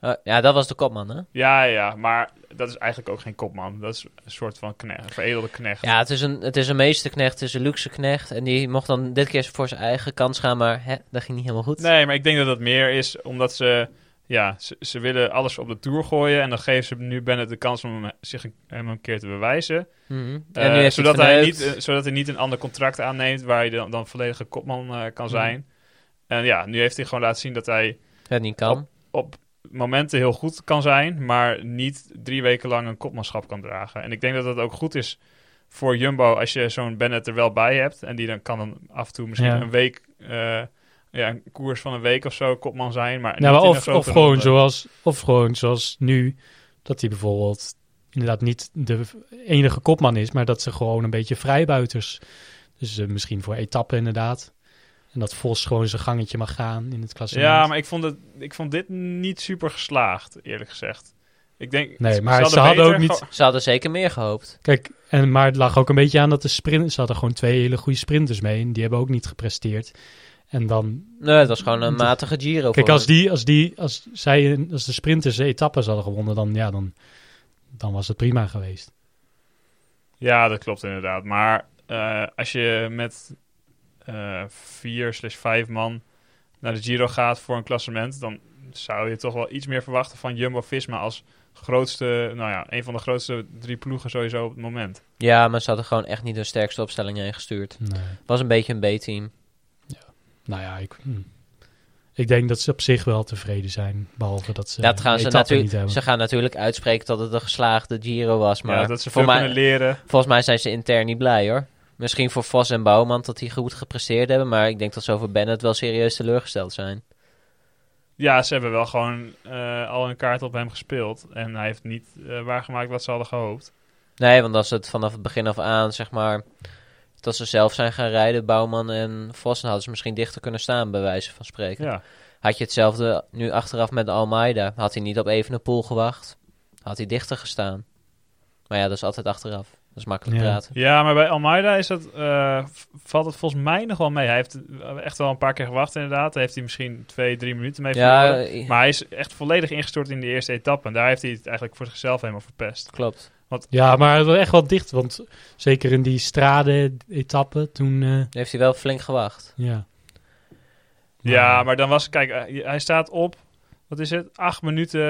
S2: Eh, ja, dat was de kopman, hè?
S1: Ja, ja, maar dat is eigenlijk ook geen kopman. Dat is een soort van knecht, een veredelde knecht.
S2: Ja, het is een, het is een meesterknecht, het is een luxe knecht. En die mocht dan dit keer voor zijn eigen kans gaan, maar hè, dat ging niet helemaal goed.
S1: Nee, maar ik denk dat dat meer is omdat ze, ja, ze, ze willen alles op de toer gooien en dan geven ze nu Bennett de kans om hem- zich een, hem een keer te bewijzen.
S2: Mhm.
S1: Eh,
S2: En nu heeft
S1: zodat,
S2: hij, het
S1: hij
S2: verneukt.
S1: niet, eh, zodat hij niet een ander contract aanneemt waar hij dan, dan volledige kopman eh, kan
S2: Mhm.
S1: zijn. En ja, nu heeft hij gewoon laten zien dat hij
S2: het niet kan.
S1: op momenten heel goed kan zijn, maar niet drie weken lang een kopmanschap kan dragen. En ik denk dat dat ook goed is voor Jumbo als je zo'n Bennett er wel bij hebt. En die dan kan dan af en toe misschien
S3: Ja.
S1: een week, eh, ja, een koers van een week of zo kopman zijn. Maar
S3: nou,
S1: niet
S3: maar
S1: in een
S3: of,
S1: grote
S3: of, gewoon
S1: ronde.
S3: zoals, of gewoon zoals nu, dat hij bijvoorbeeld inderdaad niet de enige kopman is, maar dat ze gewoon een beetje vrijbuiters. Dus eh, misschien voor etappen inderdaad. En dat Vos gewoon zijn gangetje mag gaan in het klassement.
S1: Ja, maar ik vond, het, ik vond dit niet super geslaagd, eerlijk gezegd. Ik denk,
S3: nee, maar ze
S1: hadden
S3: hadden
S1: beter
S3: ook niet...
S1: gewoon-
S2: Ze hadden zeker meer gehoopt.
S3: Kijk, en, maar het lag ook een beetje aan dat de sprint... Ze hadden gewoon twee hele goede sprinters mee en die hebben ook niet gepresteerd. En dan
S2: Nee, het was gewoon een matige Giro.
S3: Kijk,
S2: voor
S3: als,
S2: hem.
S3: die, als, die, als, zij, een- als de sprinters de etappes hadden gewonnen, dan, ja, dan, dan was het prima geweest.
S1: Ja, dat klopt inderdaad. Maar eh, als je met eh vier slash vijf man naar de Giro gaat voor een klassement, dan zou je toch wel iets meer verwachten van Jumbo-Visma als grootste, nou ja, een van de grootste drie ploegen sowieso op het moment.
S2: Ja, maar ze hadden gewoon echt niet hun sterkste opstelling heen gestuurd.
S3: Nee.
S2: Het was een beetje een B-team.
S3: Nou ja, ik, hm. ik denk dat ze op zich wel tevreden zijn, behalve dat ze
S2: dat gaan
S3: de
S2: ze,
S3: etappe niet
S2: natuurlijk,
S3: hebben.
S2: ze gaan natuurlijk uitspreken dat het een geslaagde Giro was. Maar
S1: Maar dat ze veel
S2: voor mij,
S1: kunnen leren.
S2: volgens mij zijn ze intern niet blij hoor. Misschien voor Vos en Bouwman dat die goed gepresteerd hebben. Maar ik denk dat ze over Bennett wel serieus teleurgesteld zijn.
S1: Ja, ze hebben wel gewoon eh, al een kaart op hem gespeeld. En hij heeft niet eh, waargemaakt wat ze hadden gehoopt.
S2: Nee, want als het vanaf het begin af aan, zeg maar, dat ze zelf zijn gaan rijden, Bouwman en Vos, dan hadden ze misschien dichter kunnen staan, bij wijze van spreken.
S1: Ja,
S2: Had je hetzelfde nu achteraf met Almeida? Had hij niet op Evenepoel gewacht? Had had hij dichter gestaan. Maar ja, dat is altijd achteraf. Dat is makkelijk
S3: Ja.
S2: praten.
S1: Ja, maar bij Almeida is dat, eh, v- valt het volgens mij nog wel mee. Hij heeft echt wel een paar keer gewacht inderdaad. Daar heeft hij misschien twee, drie minuten mee
S2: Ja,
S1: verloren.
S2: eh,
S1: Maar hij is echt volledig ingestort in de eerste etappe. En daar heeft hij het eigenlijk voor zichzelf helemaal verpest.
S2: klopt.
S3: Ja, maar het was echt wel dicht. Want zeker in die straden-etappe toen... eh,
S2: Nu heeft hij wel flink gewacht.
S3: ja.
S1: Ja, maar dan was... Kijk, eh, hij staat op... Wat is het? Acht minuten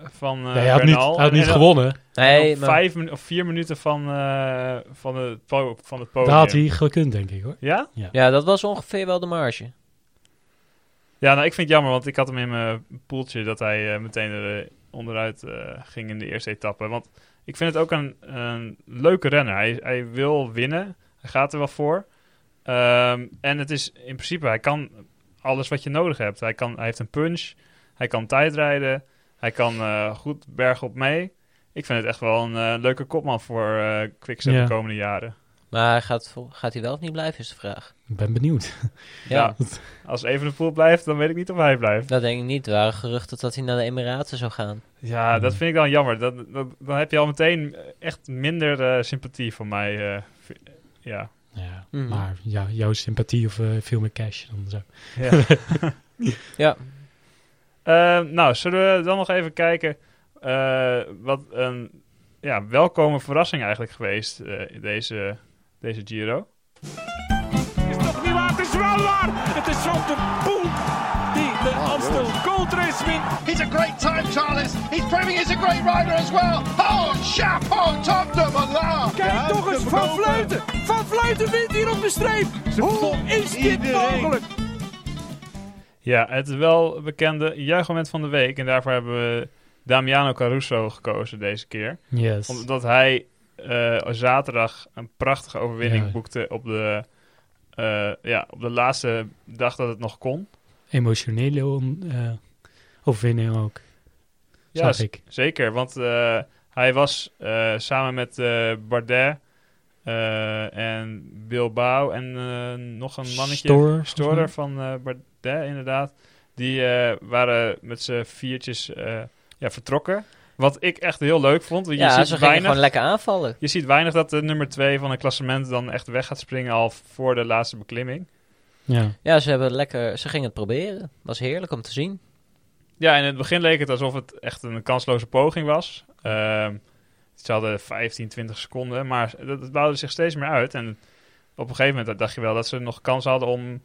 S1: van eh
S3: Nee, hij had niet,
S1: Bernal.
S3: hij had
S1: En-
S3: niet
S1: en dan-
S3: gewonnen.
S1: en
S2: Nee,
S1: dan
S2: maar...
S1: Vijf minu- of vier minuten van, eh, van, het, po- van het podium.
S3: Daar had hij gekund, denk ik, hoor.
S1: Ja?
S2: Ja, dat was ongeveer wel de marge.
S1: Ja, nou, ik vind het jammer, want ik had hem in mijn poeltje dat hij eh, meteen er eh, onderuit eh, ging in de eerste etappe. Want ik vind het ook een, een leuke renner. Hij, hij wil winnen, hij gaat er wel voor. Ehm, en het is in principe, hij kan alles wat je nodig hebt. Hij, kan, hij heeft een punch, hij kan tijdrijden, hij kan eh, goed bergop mee. Ik vind het echt wel een eh, leuke kopman voor eh Quickstep
S3: Ja.
S1: de komende jaren.
S2: Maar gaat, vol- gaat hij wel of niet blijven, is de vraag.
S3: Ik ben benieuwd.
S2: Ja,
S1: Ja. Als Evenepoel blijft, dan weet ik niet of hij blijft.
S2: dat denk ik niet. Er waren geruchten dat hij naar de Emiraten zou gaan.
S1: Ja, dat
S3: Mm.
S1: vind ik dan jammer. Dat, dat, dan heb je al meteen echt minder eh, sympathie voor mij. eh, v- ja.
S3: Ja,
S2: Mhm.
S3: Maar ja, jouw sympathie of eh, veel meer cash dan zo.
S1: [LAUGHS]
S2: Ja,
S1: Eh, nou, zullen we dan nog even kijken eh, wat een ja, welkome verrassing eigenlijk geweest eh, in deze, deze Giro.
S4: is toch niet waar? Het is wel waar! Het is Van de Poel die de Amstel Gold Race wint.
S5: He's a great time, Charles. He's proving he's a great rider as well. Oh, chapeau, top de malade.
S4: Kijk toch eens, Van Vleuten! Van Vleuten wint hier op de streep! Hoe is dit mogelijk?
S1: Ja, het wel bekende juichmoment van de week. En daarvoor hebben we Damiano Caruso gekozen deze keer.
S3: Yes.
S1: Omdat hij eh, zaterdag een prachtige overwinning
S3: Ja.
S1: boekte op de, eh, ja, op de laatste dag dat het nog kon.
S3: Emotionele on, eh, overwinning ook,
S1: Ja,
S3: zag ik.
S1: z- zeker. Want eh, hij was eh, samen met eh, Bardet eh, en Bilbao en eh, nog een mannetje.
S3: Storer,
S1: Storer
S3: volgens
S1: van eh, Bardet, inderdaad. Die eh, waren met z'n viertjes eh, ja, vertrokken. Wat ik echt heel leuk vond. want Je
S2: ja
S1: ziet
S2: ze gingen
S1: weinig
S2: gewoon lekker aanvallen.
S1: Je ziet weinig dat de nummer 2 van een klassement dan echt weg gaat springen al voor de laatste beklimming.
S3: mij. Ja.
S2: Ja, ze, hebben lekker, ze gingen het proberen. Was heerlijk om te zien.
S1: Ja, in het begin leek het alsof het echt een kansloze poging was. Ehm, ze hadden 15, 20 seconden, maar dat, dat bouwde zich steeds meer uit. En op een gegeven moment dacht je wel dat ze nog kans hadden om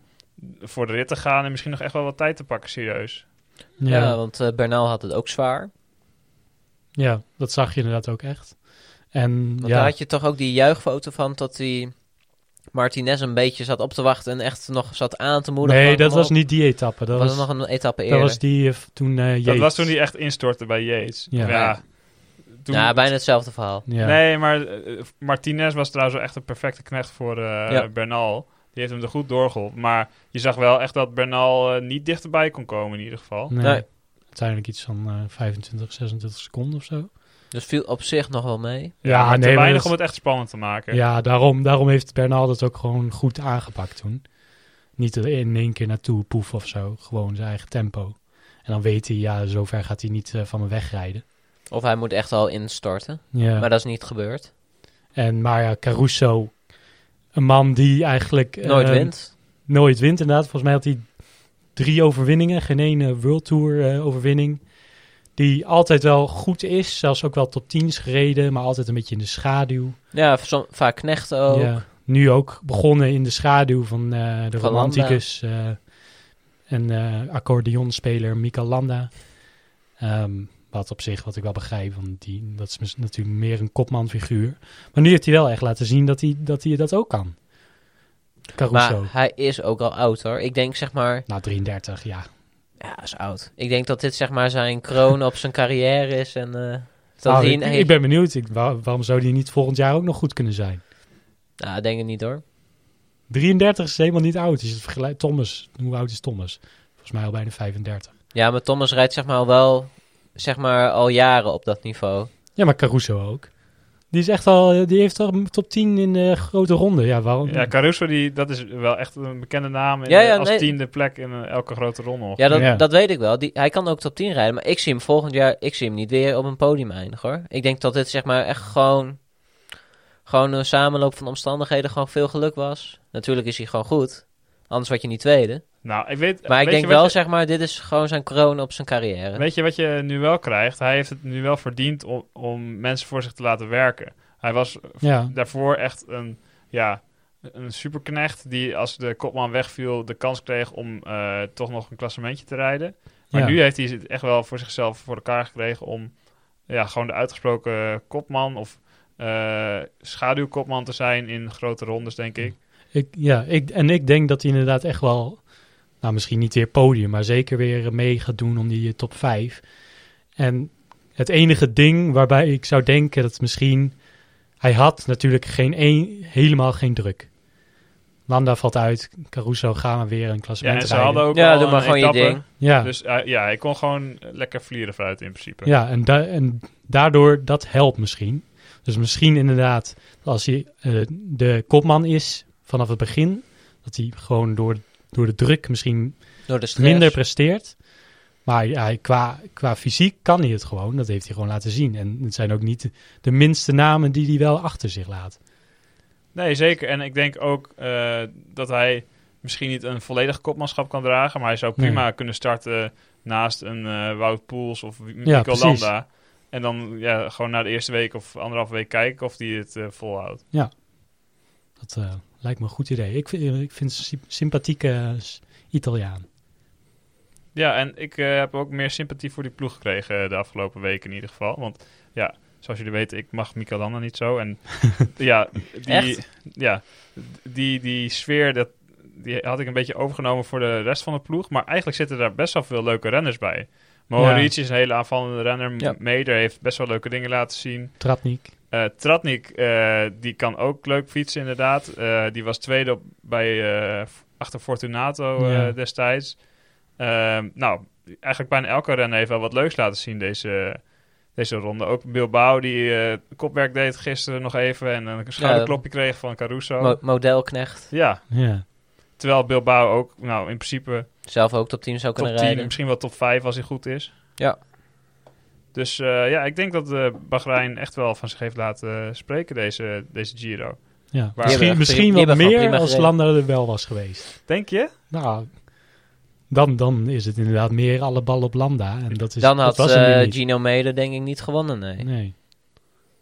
S1: voor de rit te gaan en misschien nog echt wel wat tijd te pakken, serieus.
S2: Ja,
S3: Ja. Ja.
S2: want eh Bernal had het ook zwaar.
S3: dat zag je inderdaad ook echt. En
S2: Want daar
S3: ja,
S2: had je toch ook die juichfoto van dat die Martinez een beetje zat op te wachten en echt nog zat aan te moedigen.
S3: nee,
S2: van,
S3: dat
S2: kom
S3: was
S2: op.
S3: niet die etappe. Dat
S2: was,
S3: was,
S2: er nog een etappe
S3: dat
S2: eerder.
S3: was die eh, toen eh
S1: Dat
S3: Yates.
S1: was toen die echt instortte bij Yates.
S3: Ja.
S1: ja toen-
S2: Ja, bijna hetzelfde verhaal.
S3: Ja.
S1: Nee, maar eh, Martinez was trouwens wel echt een perfecte knecht voor eh,
S2: Ja.
S1: Bernal. Die heeft hem er goed doorgeholpen. Maar je zag wel echt dat Bernal eh, niet dichterbij kon komen in ieder geval.
S3: Nee.
S2: Nee.
S3: Uiteindelijk iets van eh, 25, 26 seconden of zo.
S2: Dus viel op zich nog wel mee.
S1: Ja, maar
S3: nee,
S1: te
S3: maar
S1: weinig
S3: dat-
S1: om het echt spannend te maken.
S3: Ja, daarom, daarom heeft Bernal dat ook gewoon goed aangepakt toen. Niet er in één keer naartoe poef of zo. Gewoon zijn eigen tempo. En dan weet hij, ja, zover gaat hij niet eh, van me wegrijden.
S2: Of hij moet echt al instorten.
S3: Ja.
S2: Maar dat is niet gebeurd.
S3: En maar ja, Caruso, een man die eigenlijk... eh,
S2: Nooit wint.
S3: Nooit wint, inderdaad. Volgens mij had hij drie overwinningen. Geen ene World Tour eh, overwinning. Die altijd wel goed is. Zelfs ook wel top 10's gereden. Maar altijd een beetje in de schaduw.
S2: Ja, som- vaak knechten ook.
S3: Ja, nu ook begonnen in de schaduw van eh, de
S2: Van
S3: romanticus eh, en eh, accordeonspeler Mika Landa. Ehm, wat op zich, wat ik wel begrijp, want die, dat is mis- natuurlijk meer een kopmanfiguur. Maar nu heeft hij wel echt laten zien dat hij dat, hij dat ook kan. Caruso.
S2: Maar hij is ook al oud hoor. Ik denk zeg maar...
S3: Nou, 33, ja.
S2: Ja, hij is oud. Ik denk dat dit zeg maar zijn kroon op zijn carrière is. En eh, dat
S3: Nou,
S2: hij...
S3: ik, ik ben benieuwd. Ik, waar- waarom zou die niet volgend jaar ook nog goed kunnen zijn?
S2: Nou, ik denk het niet hoor.
S3: 33 is helemaal niet oud. Is het vergelijk... Thomas, hoe oud is Thomas? Volgens mij al bijna 35.
S2: Ja, maar Thomas rijdt zeg maar al wel... Zeg maar al jaren op dat niveau.
S3: Ja, maar Caruso ook. Die, is echt al, die heeft al een top 10 in de grote ronde. Ja, waarom?
S1: Ja, Caruso, die, dat is wel echt een bekende naam. In,
S2: Ja, ja,
S1: als
S2: nee.
S1: tiende plek in eh, elke grote ronde. ongeveer.
S2: Ja, dat,
S3: Ja.
S2: dat weet ik wel. Die, hij kan ook top 10 rijden, maar ik zie hem volgend jaar ik zie hem niet weer op een podium eindigen hoor. Ik denk dat dit zeg maar echt gewoon, gewoon een samenloop van omstandigheden, gewoon veel geluk was. Natuurlijk is hij gewoon goed, anders word je niet tweede.
S1: Nou, ik weet...
S2: Maar ik
S1: weet je
S2: denk
S1: wat
S2: wel
S1: je-
S2: zeg maar, dit is gewoon zijn kroon op zijn carrière.
S1: Weet je wat je nu wel krijgt? Hij heeft het nu wel verdiend om, om mensen voor zich te laten werken. Hij was
S3: Ja,
S1: daarvoor echt een, ja, een superknecht die als de kopman wegviel de kans kreeg om eh, toch nog een klassementje te rijden. Maar
S3: Ja.
S1: nu heeft hij het echt wel voor zichzelf voor elkaar gekregen om ja, gewoon de uitgesproken kopman of eh, schaduwkopman te zijn in grote rondes, denk ik.
S3: ik, ja ik, en ik denk dat hij inderdaad echt wel... Nou, misschien niet weer podium, maar zeker weer mee gaat doen om die eh, top 5. En het enige ding waarbij ik zou denken dat misschien... Hij had natuurlijk geen één, helemaal geen druk. Landa valt uit, Caruso gaan we weer een
S1: Ja,
S3: klassement
S1: en ze
S3: rijden.
S1: hadden ook
S2: ja,
S1: al
S2: doe maar
S1: een
S2: gewoon
S1: etappe.
S2: je ding.
S3: Ja.
S1: Dus eh, ja, hij kon gewoon lekker vlieren vooruit in principe.
S3: Ja, en, da- en daardoor dat helpt misschien. Dus misschien inderdaad, als hij eh, de kopman is vanaf het begin, dat hij gewoon door, door de druk misschien
S2: Door de stress.
S3: minder presteert. Maar ja, qua, qua fysiek kan hij het gewoon. Dat heeft hij gewoon laten zien. En het zijn ook niet de, de minste namen die hij wel achter zich laat.
S1: Nee, zeker. En ik denk ook eh, dat hij misschien niet een volledig kopmanschap kan dragen, maar hij zou prima kunnen starten naast een eh, Wout Poels of Wi-
S3: Ja,
S1: Mikel
S3: precies.
S1: Landa. En dan ja, gewoon na de eerste week of anderhalf week kijken of hij het eh, volhoudt.
S3: Dat eh, lijkt me een goed idee. Ik, vind- ik vind het een sympathieke eh, s- Italiaan.
S1: Ja, en ik eh, heb ook meer sympathie voor die ploeg gekregen eh, de afgelopen weken in ieder geval. Want ja, zoals jullie weten, ik mag Mikel Landa niet zo. En ja, die,
S2: Echt?
S1: ja die, die sfeer, dat, die had ik een beetje overgenomen voor de rest van de ploeg. Maar eigenlijk zitten daar best wel veel leuke renners bij. Mohoric is een hele aanvallende renner.
S2: Ja.
S1: Meder heeft best wel leuke dingen laten zien.
S3: Tratnik.
S1: Eh, Tratnik, eh, die kan ook leuk fietsen inderdaad. Eh, die was tweede op, bij, eh, f- achter Fortunato eh,
S3: Ja.
S1: destijds. Ehm, nou, eigenlijk bijna elke renner heeft wel wat leuks laten zien deze, deze ronde. Ook Bilbao, die eh, kopwerk deed gisteren nog even... en een schouderklopje kreeg van Caruso.
S2: Mo- modelknecht.
S1: ja,
S3: Ja.
S1: terwijl Bilbao ook nou, in principe
S2: Zelf ook top 10 zou
S1: top
S2: kunnen
S1: 10...
S2: rijden.
S1: misschien wel top 5 als hij goed is.
S2: Ja.
S1: Dus eh, ja, ik denk dat eh Bahrein echt wel van zich heeft laten eh, spreken deze, deze Giro.
S3: ja.
S1: hebben
S3: Misschien,
S2: echt-
S3: misschien
S2: die
S3: wat
S2: hebben gewoon
S3: meer
S2: prima
S3: als
S2: gereden.
S3: Landa er wel was geweest.
S1: Denk je?
S3: Nou, dan, dan is het inderdaad meer alle bal op Lambda. En dat is,
S2: Dan
S3: dat
S2: had
S3: was hem
S2: eh,
S3: weer niet.
S2: Gino Mede denk ik niet gewonnen, nee.
S3: Nee,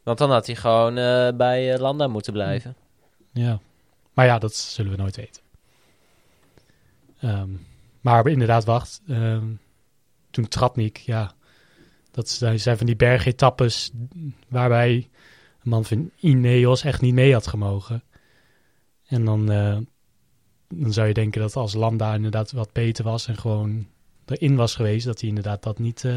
S2: Want dan had hij gewoon eh, bij eh, Landa moeten blijven.
S3: ja. Maar ja, dat zullen we nooit weten. Ehm, maar inderdaad, wacht. ehm, toen Tratnik, ja. Dat zijn zijn van die bergetappes waarbij een man van Ineos echt niet mee had gemogen. En dan, eh, dan zou je denken dat als Lambda inderdaad wat beter was en gewoon erin was geweest, dat hij inderdaad dat niet... eh,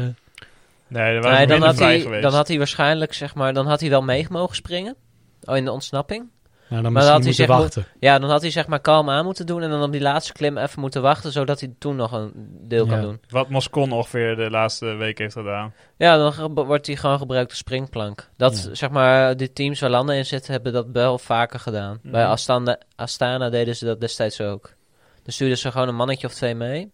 S1: Nee, dat was
S2: Nee, dan
S1: minder
S2: had,
S1: vrij
S2: hij,
S1: geweest.
S2: dan had hij waarschijnlijk, zeg maar, dan had hij wel mee mogen springen. Oh, in de ontsnapping.
S3: Nou, dan
S2: Maar dan had
S3: misschien
S2: hij
S3: moeten
S2: zeg maar-
S3: wachten.
S2: Ja, dan had hij zeg maar kalm aan moeten doen en dan op die laatste klim even moeten wachten, zodat hij toen nog een deel kan
S3: Ja.
S2: doen.
S1: Wat Moscon ongeveer de laatste week heeft gedaan.
S2: Ja, dan ge- wordt hij gewoon gebruikt als springplank. Dat,
S3: Ja.
S2: zeg maar, de teams waar landen in zitten, hebben dat wel vaker gedaan.
S1: Mhm.
S2: Bij Astana, Astana deden ze dat destijds ook. Dan stuurden ze gewoon een mannetje of twee mee.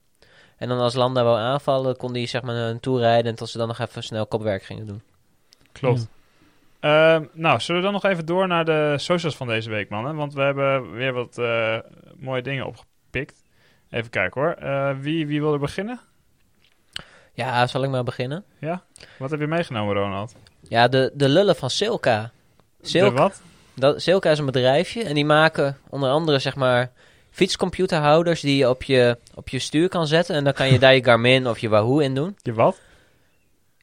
S2: En dan als Landa wou aanvallen, kon hij zeg maar naar hen toe rijden... en tot ze dan nog even snel kopwerk gingen doen.
S1: Klopt. Ehm, nou, zullen we dan nog even door naar de socials van deze week, mannen? Want we hebben weer wat eh, mooie dingen opgepikt. Even kijken hoor. Eh, wie, wie wil er beginnen?
S2: Ja, zal ik maar beginnen?
S1: Wat heb je meegenomen, Ronald?
S2: Ja, de, de lullen van Silka.
S1: De
S2: Silka,
S1: wat?
S2: dat, Silka is een bedrijfje en die maken onder andere zeg maar fietscomputerhouders die je op je, op je stuur kan zetten. En dan
S1: [LAUGHS]
S2: kan je daar je Garmin of je Wahoo in doen.
S1: Je wat?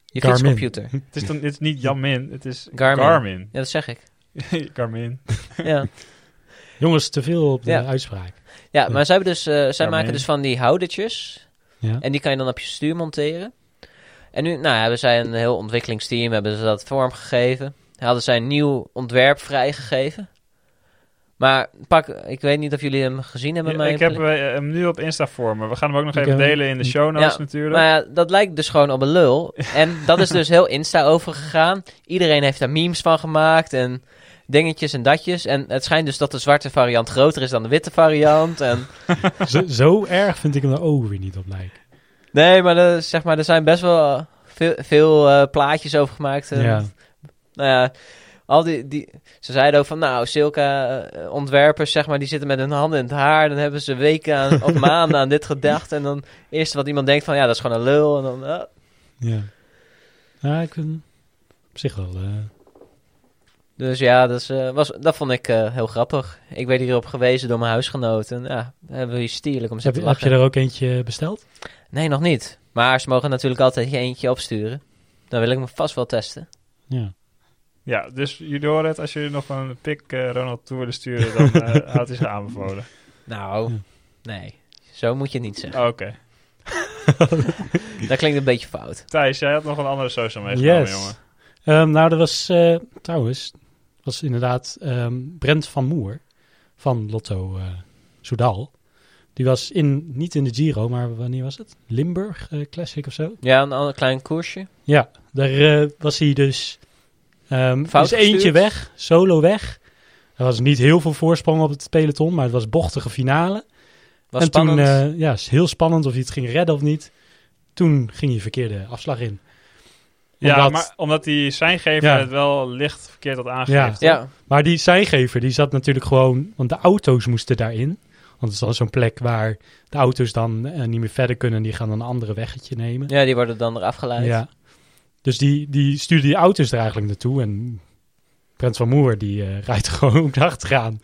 S2: Je
S3: Garmin.
S2: fietscomputer.
S1: Het is, dan, het is niet Jamin, het is
S2: Garmin. [LAUGHS]
S1: Garmin.
S2: Ja, dat zeg ik.
S1: Garmin.
S2: Ja,
S3: Jongens, te veel op de
S2: Ja.
S3: uitspraak.
S2: ja maar zij, hebben dus, eh, zij
S1: Garmin.
S2: maken dus van die houdertjes.
S3: Ja.
S2: En die kan je dan op je stuur monteren. En nu nou, hebben zij een heel ontwikkelingsteam, hebben ze dat vormgegeven. Hadden zij een nieuw ontwerp vrijgegeven. Maar pak, ik weet niet of jullie hem gezien hebben.
S1: Ja,
S2: maar
S1: ik heb eh, hem nu op Insta voor me. We gaan hem ook nog
S3: Ik
S1: even
S3: heb-
S1: delen in de show notes
S2: Ja,
S1: natuurlijk.
S2: Maar ja, dat lijkt dus gewoon op een lul. En dat is dus heel Insta overgegaan. Iedereen heeft daar memes van gemaakt en dingetjes en datjes. En het schijnt dus dat de zwarte variant groter is dan de witte variant. En...
S3: zo, zo erg vind ik hem er ook weer niet op lijken.
S2: Nee, maar, er- zeg maar er zijn best wel eh, veel, veel eh, plaatjes over gemaakt. En,
S3: Ja.
S2: Nou ja, al die, die, ze zeiden ook van, nou, Silka eh, ontwerpers, zeg maar, die zitten met hun handen in het haar. Dan hebben ze weken aan, of maanden aan dit gedacht. En dan eerst wat iemand denkt van, ja, dat is gewoon een lul. En dan, eh,
S3: Ja. Ja, ik vind hem op zich wel... eh,
S2: Dus ja, dat, is, eh, was, dat vond ik eh, heel grappig. Ik werd hierop gewezen door mijn huisgenoten. Ja, dan hebben we hier stierlijk om ze
S3: heb,
S2: te
S3: je- heb
S2: lachen.
S3: je er ook eentje besteld?
S2: Nee, nog niet. Maar ze mogen natuurlijk altijd je eentje opsturen. Dan wil ik me vast wel testen.
S3: Ja.
S1: Ja, dus jullie horen het. Als jullie nog een pik eh, Ronald toe willen sturen, dan eh, houdt hij zich aanbevolen.
S2: Nou,
S3: Ja.
S2: nee. Zo moet je het niet zeggen.
S1: Oké.
S2: Dat klinkt een beetje fout.
S1: Thijs, jij had nog een andere social meegenomen, jongen.
S3: Ehm, nou, er was eh, trouwens, was inderdaad ehm, Brent van Moer van Lotto eh Soudal. Die was in, niet in de Giro, maar wanneer was het? Limburg eh, Classic of zo?
S2: Ja, een ander klein koersje.
S3: Ja, daar eh, was hij dus. ehm
S2: Fout
S3: is eentje
S2: gestuurd.
S3: weg, solo weg. Er was niet heel veel voorsprong op het peloton, maar het was bochtige finale.
S2: Was
S3: en
S2: spannend.
S3: toen, eh, ja, is heel spannend of hij het ging redden of niet. Toen ging hij verkeerde afslag in.
S1: Ja,
S3: Omdat-
S1: maar omdat hij zijn gever
S3: Ja.
S1: het wel licht verkeerd had aangegeven.
S2: ja,
S3: Maar die zijgever, die zat natuurlijk gewoon... Want de auto's moesten daarin. Want het is dan zo'n plek waar de auto's dan eh, niet meer verder kunnen. En die gaan dan een andere weggetje nemen.
S2: ja, die worden dan eraf geleid.
S3: Ja. Dus die, die stuurde die auto's er eigenlijk naartoe. En Brent van Moer, die eh, [LAUGHS] rijdt gewoon ook achteraan.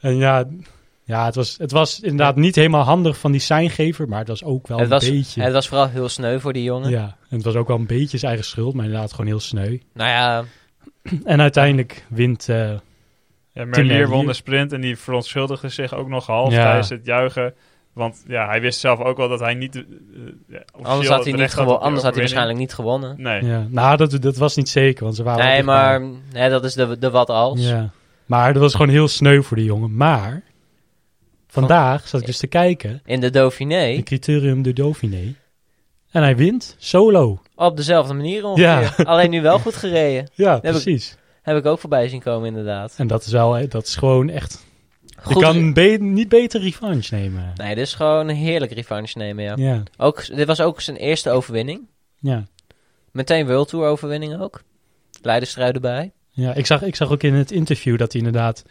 S3: En ja, ja het, was, het was inderdaad niet helemaal handig van die seingever. Maar het was ook wel
S2: Het, was,
S3: een beetje...
S2: het was vooral heel sneu voor die jongen.
S3: ja, en het was ook wel een beetje zijn eigen schuld, maar inderdaad gewoon heel sneu.
S2: Nou ja,
S3: En uiteindelijk wint eh,
S1: Ja,
S3: Tim
S1: Merlier won
S3: Merlier.
S1: de sprint en die verontschuldigde zich ook nog half
S3: Ja.
S1: tijdens het juichen. Want ja, hij wist zelf ook wel dat hij niet... eh, eh, ja, officieel
S2: anders had hij,
S1: het
S2: niet
S1: recht had
S2: gewo-
S1: op die
S2: anders had hij
S1: overwinning.
S2: waarschijnlijk niet gewonnen.
S1: Nee.
S3: Ja, nou, dat, dat was niet zeker, want ze waren...
S2: Nee,
S3: echt
S2: maar nee, dat is de, de wat als.
S3: Ja. Maar dat was gewoon heel sneu voor die jongen. Maar vandaag zat ik dus te kijken,
S2: In de Dauphiné,
S3: in Criterium de Dauphiné. En hij wint, solo.
S2: op dezelfde manier ongeveer.
S3: Ja.
S2: [LAUGHS] Alleen nu wel goed gereden.
S3: Ja,
S2: ik-
S3: precies.
S2: Heb ik ook voorbij zien komen, inderdaad.
S3: En dat is wel, dat is gewoon echt...
S2: Goed,
S3: je kan be- niet beter revanche nemen.
S2: Nee, dit is gewoon een heerlijk revanche nemen, ja.
S3: Ja,
S2: Ook, dit was ook zijn eerste overwinning.
S3: ja.
S2: Meteen World Tour overwinning ook. Leiderstrui erbij.
S3: Ja, ik zag, ik zag ook in het interview dat hij inderdaad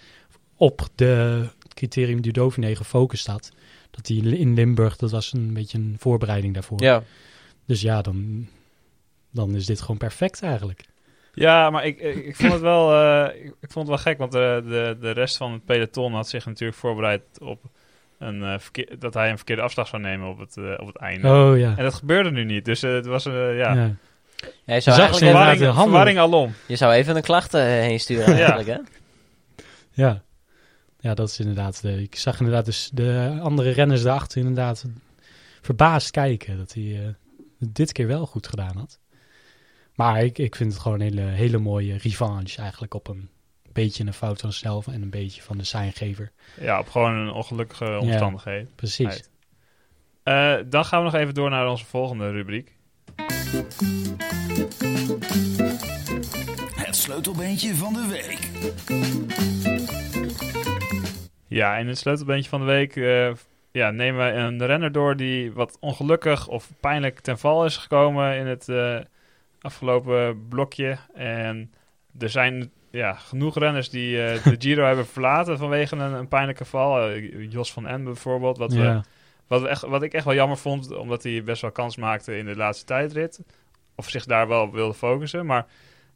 S3: op de criterium du Dauphiné gefocust had. Dat hij in Limburg, dat was een beetje een voorbereiding daarvoor.
S2: Ja.
S3: Dus ja, dan, dan is dit gewoon perfect eigenlijk.
S1: Ja, maar ik, ik, ik vond het wel, eh, ik, ik vond het wel gek, want de, de, de rest van het peloton had zich natuurlijk voorbereid op een, eh, verkeer- dat hij een verkeerde afslag zou nemen op het, eh, op het einde.
S3: Oh ja.
S1: En dat gebeurde nu niet, dus eh, het was een, eh, ja,
S3: Ja. Ja.
S2: Ja, je, zou
S3: Zag
S2: eigenlijk
S3: ze inderdaad
S1: verwarring,
S3: heel handig.
S1: verwarring alom.
S2: even, je zou even een klacht eh, heen sturen eigenlijk, hè?
S3: ja. dat is inderdaad. De, ik zag inderdaad dus de andere renners daarachter inderdaad verbaasd kijken dat hij eh, het dit keer wel goed gedaan had. Maar ik, ik vind het gewoon een hele, hele mooie revanche eigenlijk op een beetje een fout van zelf en een beetje van de seingever.
S1: Ja, op gewoon een ongelukkige omstandigheid.
S3: Precies.
S1: Right. Eh, dan gaan we nog even door naar onze volgende rubriek.
S6: Het sleutelbeentje van de week.
S1: Ja, en het sleutelbeentje van de week eh, ja, nemen we een renner door die wat ongelukkig of pijnlijk ten val is gekomen in het eh, afgelopen blokje. En er zijn ja, genoeg renners die eh, de Giro [LAUGHS] hebben verlaten vanwege een, een pijnlijke val. Eh, Jos van En bijvoorbeeld, wat, we,
S3: ja.
S1: wat, we echt, wat ik echt wel jammer vond, omdat hij best wel kans maakte in de laatste tijdrit. Of zich daar wel op wilde focussen, maar...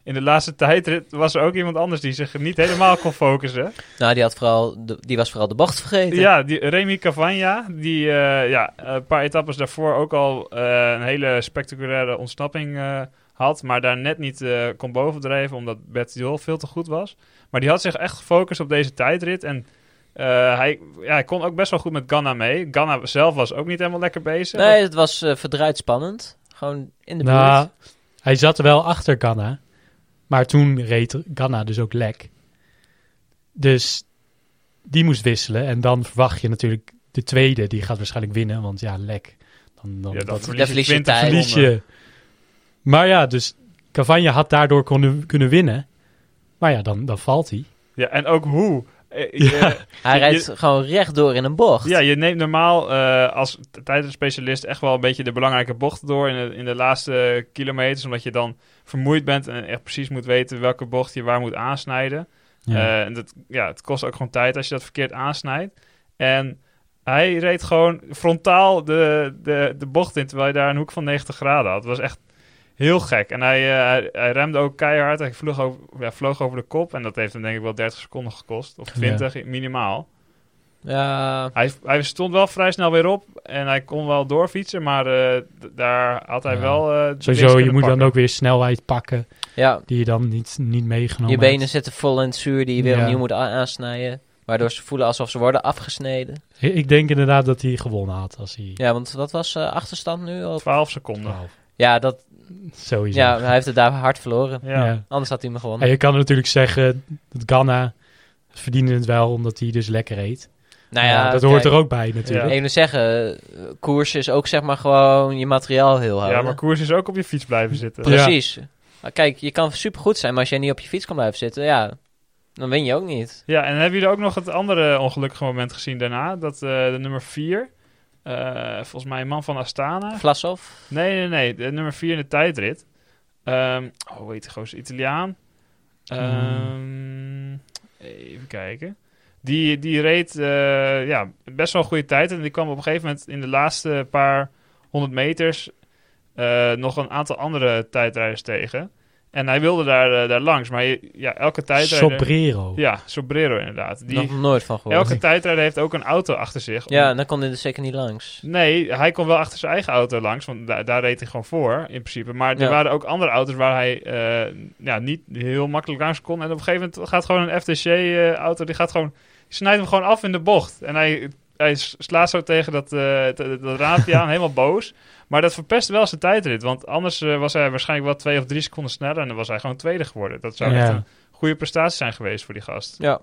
S1: In de laatste tijdrit was er ook iemand anders die zich niet helemaal kon focussen.
S2: Nou, die, had vooral de- die was vooral de bocht vergeten.
S1: Ja, die, Remy Cavagna, die eh, ja, een paar etappes daarvoor ook al eh, een hele spectaculaire ontsnapping eh, had. Maar daar net niet eh, kon bovendrijven, omdat Bertiol veel te goed was. Maar die had zich echt gefocust op deze tijdrit. En eh, hij, ja, hij kon ook best wel goed met Ganna mee. Ganna zelf was ook niet helemaal lekker bezig.
S2: Nee, het was eh, verdraaid spannend. Gewoon in de buurt.
S3: Nou, hij zat er wel achter Ganna. Maar toen reed Ganna dus ook lek. Dus die moest wisselen. En dan verwacht je natuurlijk de tweede, die gaat waarschijnlijk winnen. Want ja, lek. Dan, dan,
S1: Ja, dat
S2: Dan verlies je tijd.
S3: verlies je. Maar ja, dus Cavagna had daardoor kunnen, kunnen winnen. Maar ja, dan, dan valt hij.
S1: Ja, en ook hoe. Eh, je-
S3: Ja.
S2: Hij
S1: Je-
S2: rijdt gewoon rechtdoor in een bocht.
S1: Ja, je neemt normaal eh, als t- tijdritspecialist echt wel een beetje de belangrijke bocht door in de, in de laatste kilometers. Omdat je dan vermoeid bent en echt precies moet weten welke bocht je waar moet aansnijden.
S3: Ja.
S1: Eh, en dat, ja, het kost ook gewoon tijd als je dat verkeerd aansnijdt. En hij reed gewoon frontaal de, de, de bocht in, terwijl je daar een hoek van 90 graden had. Het was echt heel gek. En hij, eh, hij, hij remde ook keihard. Hij vloog over, ja, vloog over de kop. En dat heeft hem denk ik wel 30 seconden gekost. Of 20 minimaal.
S2: Ja,
S1: Hij, hij stond wel vrij snel weer op en hij kon wel doorfietsen, maar eh, d- daar had hij
S3: Ja.
S1: wel. eh, de winst
S3: Sowieso, je
S1: kunnen
S3: moet
S1: pakken.
S3: dan ook weer snelheid pakken
S2: ja.
S3: die je dan niet, niet meegenomen
S2: je benen
S3: hebt.
S2: zitten vol in het zuur die je weer
S3: Ja.
S2: opnieuw moet a- aansnijden. Waardoor ze voelen alsof ze worden afgesneden.
S3: Ik ik denk inderdaad dat hij gewonnen had als hij
S2: Ja, want wat was eh, achterstand nu? Op?
S1: 12 seconden.
S3: 12.
S2: Ja, dat,
S3: Sowieso.
S2: ja, hij heeft het daar hard verloren.
S1: Ja.
S3: Ja.
S2: Anders had hij me
S3: En
S2: gewonnen.
S3: je kan natuurlijk zeggen dat Ghana verdiende het wel omdat hij dus lekker eet.
S2: nou
S3: Maar
S2: ja,
S3: dat hoort
S2: kijk,
S3: er ook bij natuurlijk.
S1: Ja.
S2: Ik moet zeggen, eh, koers is ook zeg maar gewoon je materiaal heel houden.
S1: ja, maar koers is ook op je fiets blijven zitten.
S3: Ja.
S2: Precies. Maar Kijk, je kan supergoed zijn, maar als jij niet op je fiets kan blijven zitten, ja, dan win je ook niet.
S1: Ja, en hebben jullie ook nog het andere ongelukkige moment gezien daarna? Dat eh, de nummer 4, volgens mij een man van Astana.
S2: Vlasov,
S1: Nee, nee, nee, de nummer 4 in de tijdrit. Ehm, oh, hoe heet die gozer? Italiaan. Ehm, Even kijken. Die, die reed eh, ja, best wel een goede tijd. En die kwam op een gegeven moment in de laatste paar honderd meters eh, nog een aantal andere tijdrijders tegen. En hij wilde daar, eh, daar langs. Maar je- ja, elke tijdrijder...
S3: Sobrero.
S1: Ja, Sobrero inderdaad. Die,
S2: nog nooit van gehoord.
S1: elke tijdrijder heeft ook een auto achter zich. om-
S2: Nou, Ja, en dan kon dit er zeker niet langs.
S1: Nee, hij kon wel achter zijn eigen auto langs, want da- daar reed hij gewoon voor in principe. Maar er
S2: Ja.
S1: waren ook andere auto's waar hij eh, ja, niet heel makkelijk langs kon. En op een gegeven moment gaat gewoon een FTC-auto, eh, die gaat gewoon, die snijdt hem gewoon af in de bocht. En hij, hij s- slaat zo tegen dat, eh, t- dat, raampje aan, helemaal boos. Maar dat verpest wel zijn tijdrit, want anders eh, was hij waarschijnlijk wel twee of drie seconden sneller en dan was hij gewoon tweede geworden. Dat zou
S3: Ja.
S1: echt een goede prestatie zijn geweest voor die gast.
S2: Ja,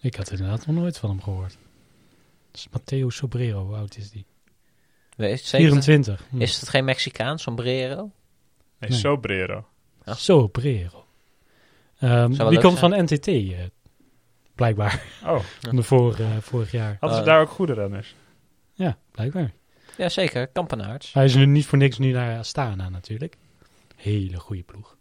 S3: Ik had inderdaad nog nooit van hem gehoord. Dat is Matteo Sobrero, hoe oud is die?
S2: weet je zeker.
S3: 24. Hm.
S2: Is het geen Mexicaan, sombrero?
S1: Nee,
S3: Nee.
S1: Sobrero.
S2: Ja.
S3: Sobrero. Ehm,
S2: wel
S3: die
S2: leuk
S3: komt van NTT, eh, blijkbaar.
S1: Oh,
S3: Van [LAUGHS] de vor- eh, vorig jaar.
S1: hadden ze
S2: Eh.
S1: daar ook goede renners?
S3: Ja, blijkbaar.
S2: Ja, zeker. Kampenaarts.
S3: Hij is nu niet voor niks nu naar Astana natuurlijk. Hele goede ploeg.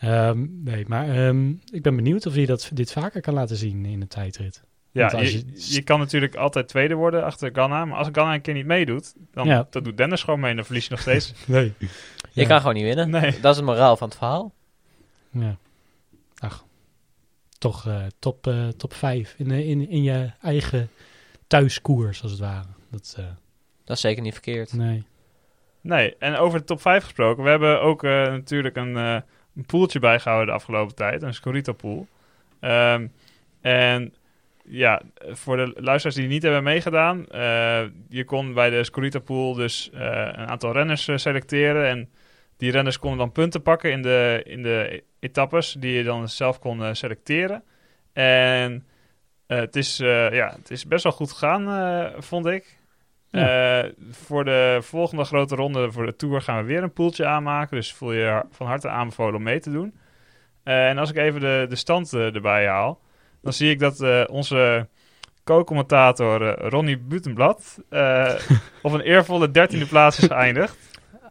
S3: Ehm, nee, maar ehm, ik ben benieuwd of hij dat, dit vaker kan laten zien in een tijdrit. Want
S1: Ja,
S3: als
S1: je,
S3: je-
S1: je kan natuurlijk altijd tweede worden achter Ghana. Maar als Ghana een keer niet meedoet, dan
S3: Ja.
S1: dat doet Dennis gewoon mee en dan verlies je nog steeds.
S3: Nee.
S2: Je kan gewoon niet winnen.
S1: Nee.
S2: Dat is het moraal van het verhaal.
S3: Ja. Ach, toch eh, top, eh, top 5 in, eh, in, in je eigen thuiskoers, als het ware. Dat, eh,
S2: Dat is zeker niet verkeerd.
S3: nee.
S1: nee, en over de top 5 gesproken. We hebben ook eh, natuurlijk een, eh, een poeltje bijgehouden de afgelopen tijd. Een Scorito pool. Ehm, en ja, voor de luisteraars die niet hebben meegedaan. eh, je kon bij de Scorito pool dus eh, een aantal renners eh, selecteren. En die renners konden dan punten pakken in de, in de etappes die je dan zelf kon eh, selecteren. En eh, het, is, eh, ja, het is best wel goed gegaan, eh, vond ik. Eh, voor de volgende grote ronde, voor de Tour, gaan we weer een poeltje aanmaken. Dus voel je har- van harte aanbevolen om mee te doen. Eh, en als ik even de, de stand eh, erbij haal, dan zie ik dat eh, onze co-commentator eh, Ronnie Butenblad eh, op een eervolle dertiende plaats is geëindigd.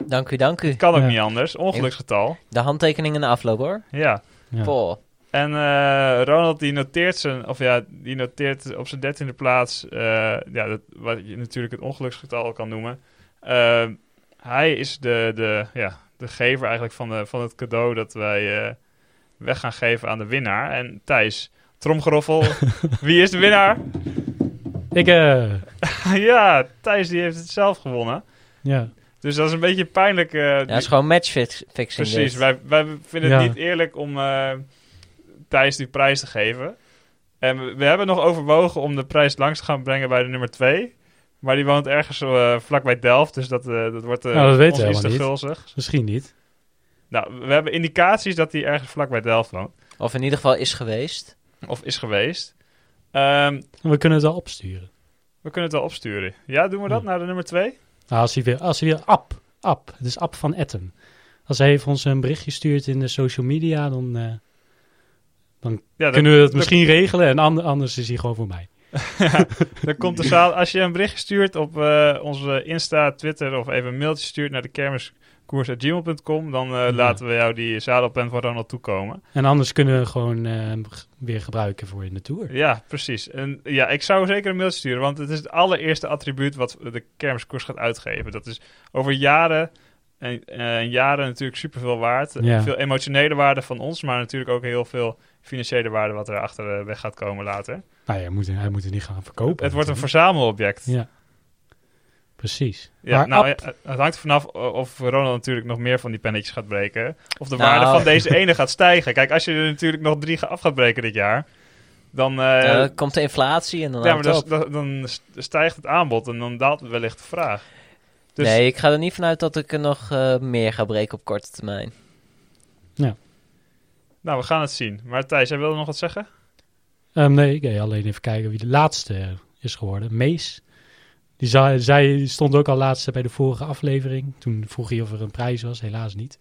S2: Dank u, dank u.
S1: Kan ook
S3: Ja.
S1: niet anders. Ongeluksgetal.
S2: De handtekening in de afloop hoor.
S1: Ja.
S3: Ja.
S2: Poh.
S1: En eh, Ronald die noteert zijn, of ja, die noteert op zijn dertiende plaats, eh, ja, dat, wat je natuurlijk het ongeluksgetal kan noemen. Eh, hij is de, de, ja, de gever eigenlijk van, de, van het cadeau dat wij eh, weg gaan geven aan de winnaar. En Thijs, tromgeroffel, wie is de winnaar?
S3: Ik, eh,
S1: ja, Thijs die heeft het zelf gewonnen.
S3: ja.
S1: Dus dat is een beetje pijnlijk. eh,
S2: Ja,
S1: die-
S2: dat is gewoon matchfixing.
S1: precies,
S2: dit.
S1: wij, wij vinden het
S3: Ja.
S1: niet eerlijk om eh, Thijs die prijs te geven. En we, we hebben nog overwogen om de prijs langs te gaan brengen bij de nummer 2. Maar die woont ergens eh, vlakbij Delft, dus dat, eh, dat wordt eh
S3: Nou, dat weten
S1: ons
S3: we
S1: iets te
S3: helemaal
S1: gulzig.
S3: Misschien niet.
S1: Nou, we hebben indicaties dat hij ergens vlakbij Delft woont.
S2: Of in ieder geval is geweest.
S1: Of is geweest. Eh, Ehm,
S3: We kunnen het wel opsturen.
S1: we kunnen het wel opsturen. Ja, doen we dat
S3: Ja.
S1: naar de nummer 2?
S3: Nou, als hij weer, als hij weer Ab, Ab, het is Ab van Etten. Als hij even ons een berichtje stuurt in de social media, dan eh,
S1: Ja, dan-
S3: kunnen we dat
S1: dan-
S3: misschien regelen. En ander- anders is hij gewoon voor mij.
S1: Dan komt de zaal. Als je een bericht stuurt op eh, onze Insta, Twitter of even een mailtje stuurt naar de kermiskoers.gmail.com, dan eh,
S3: Ja.
S1: laten we jou die zadelpen van Ronald toekomen.
S3: En anders kunnen we gewoon eh, hem g- weer gebruiken voor in de tour.
S1: Ja, precies. En ja, ik zou zeker een mailtje sturen, want het is het allereerste attribuut wat de kermiskoers gaat uitgeven. Dat is over jaren en en jaren natuurlijk superveel waard.
S3: Ja.
S1: Veel emotionele waarde van ons, maar natuurlijk ook heel veel financiële waarde wat erachter eh, weg gaat komen later.
S3: Nou ja, hij moet, hij moet het niet gaan verkopen.
S1: het wordt een
S3: natuurlijk.
S1: verzamelobject.
S3: Ja, precies.
S1: Ja,
S3: Maar
S1: nou,
S3: Ab-
S1: ja, het hangt er vanaf o- of Ronald natuurlijk nog meer van die pennetjes gaat breken. Of de
S2: Nou.
S1: waarde
S2: [LAUGHS]
S1: van deze ene gaat stijgen. Kijk, als je er natuurlijk nog drie ga- af gaat breken dit jaar, dan, eh,
S2: Eh,
S1: ja,
S2: komt de inflatie en dan
S1: maar
S2: houdt het
S1: dan,
S2: op.
S1: dan- dan stijgt het aanbod en dan daalt wellicht de vraag. Dus
S2: Nee, ik ga er niet vanuit dat ik er nog eh, meer ga breken op korte termijn.
S1: nou, we gaan het zien. Maar Thijs, jij wilde nog wat zeggen?
S3: Ehm, nee, ik deed alleen even kijken wie de laatste is geworden. Mees. Die zei, zij stond ook al laatste bij de vorige aflevering. Toen vroeg hij of er een prijs was, helaas niet.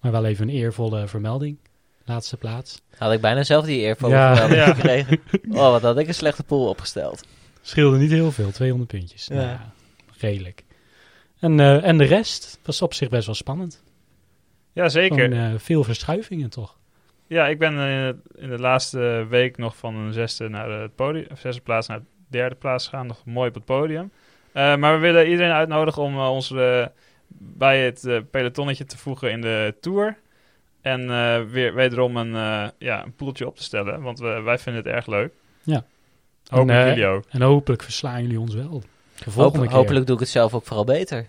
S3: Maar wel even een eervolle vermelding. Laatste plaats.
S2: Had ik bijna zelf die eervolle
S3: Ja.
S2: vermelding
S1: Ja.
S2: gekregen. Oh, wat had ik een slechte pool opgesteld.
S3: Scheelde niet heel veel, 200 puntjes. Nou Ja.
S2: Ja.
S3: redelijk. En, eh, en de rest was op zich best wel spannend.
S1: Ja, zeker.
S3: Gewoon, eh, veel verschuivingen toch?
S1: Ja, ik ben eh, in de laatste week nog van een zesde naar het podium, of zesde plaats naar de derde plaats gaan, nog mooi op het podium. Eh, maar we willen iedereen uitnodigen om eh, ons eh, bij het eh, pelotonnetje te voegen in de tour. En eh, weer wederom een, eh, ja, een poeltje op te stellen, want we, wij vinden het erg leuk.
S3: Ja.
S1: Hoop
S3: En, eh,
S1: jullie ook.
S3: En hopelijk verslaan jullie ons wel. De
S2: Hoop-
S3: volgende keer.
S2: hopelijk doe ik het zelf ook vooral beter.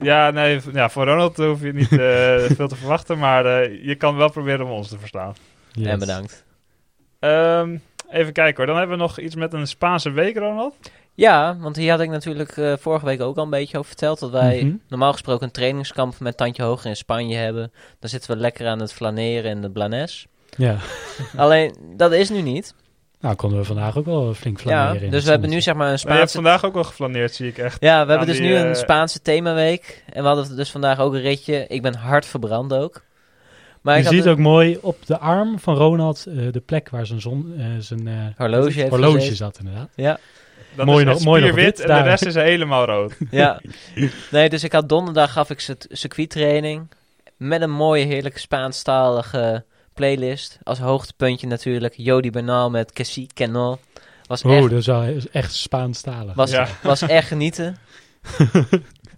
S1: Ja, nee, v- ja, voor Ronald hoef je niet [LAUGHS] eh, veel te verwachten, maar eh, je kan wel proberen om ons te verstaan.
S3: Yes.
S2: En bedankt.
S1: Ehm, even kijken hoor, dan hebben we nog iets met een Spaanse week, Ronald.
S2: Ja, want hier had ik natuurlijk eh, vorige week ook al een beetje over verteld. Dat wij
S3: Mhm.
S2: normaal gesproken een trainingskamp met Tandje Hoger in Spanje hebben. Dan zitten we lekker aan het flaneren en de [LAUGHS] blanes.
S3: Ja,
S2: Alleen, dat is nu niet.
S3: nou konden we vandaag ook wel flink
S2: Ja,
S3: flaneren. in
S2: dus
S3: het
S2: we hebben nu
S3: zonnetje.
S2: zeg maar een
S1: Maar je hebt
S2: Spaanse...
S1: vandaag ook wel geflaneerd, zie ik echt.
S2: Ja, we
S1: aan
S2: hebben dus
S1: die,
S2: nu
S1: eh,
S2: een Spaanse themaweek. En we hadden dus vandaag ook een ritje. Ik ben hard verbrand ook. Maar ik
S3: je
S2: had
S3: ziet
S2: een
S3: ook mooi op de arm van Ronald eh, de plek waar zijn, zon, eh, zijn eh,
S2: horloge heeft
S3: horloge
S2: gezeten.
S3: zat, inderdaad.
S2: Ja,
S1: Dat
S3: Mooi
S1: is
S3: nog-
S1: echt
S3: mooi nog
S1: spierwit
S3: wit
S1: en
S3: daar.
S1: de rest is helemaal
S3: [LAUGHS]
S1: rood.
S2: ja. Nee, dus ik had donderdag gaf ik cir- circuittraining. Met een mooie, heerlijke Spaanstalige playlist. Als hoogtepuntje natuurlijk Jody Bernal met Cassie Canal. Was
S3: Oh,
S2: echt
S3: dat is wel is echt Spaanstalig.
S2: Was,
S1: Ja.
S2: was echt genieten.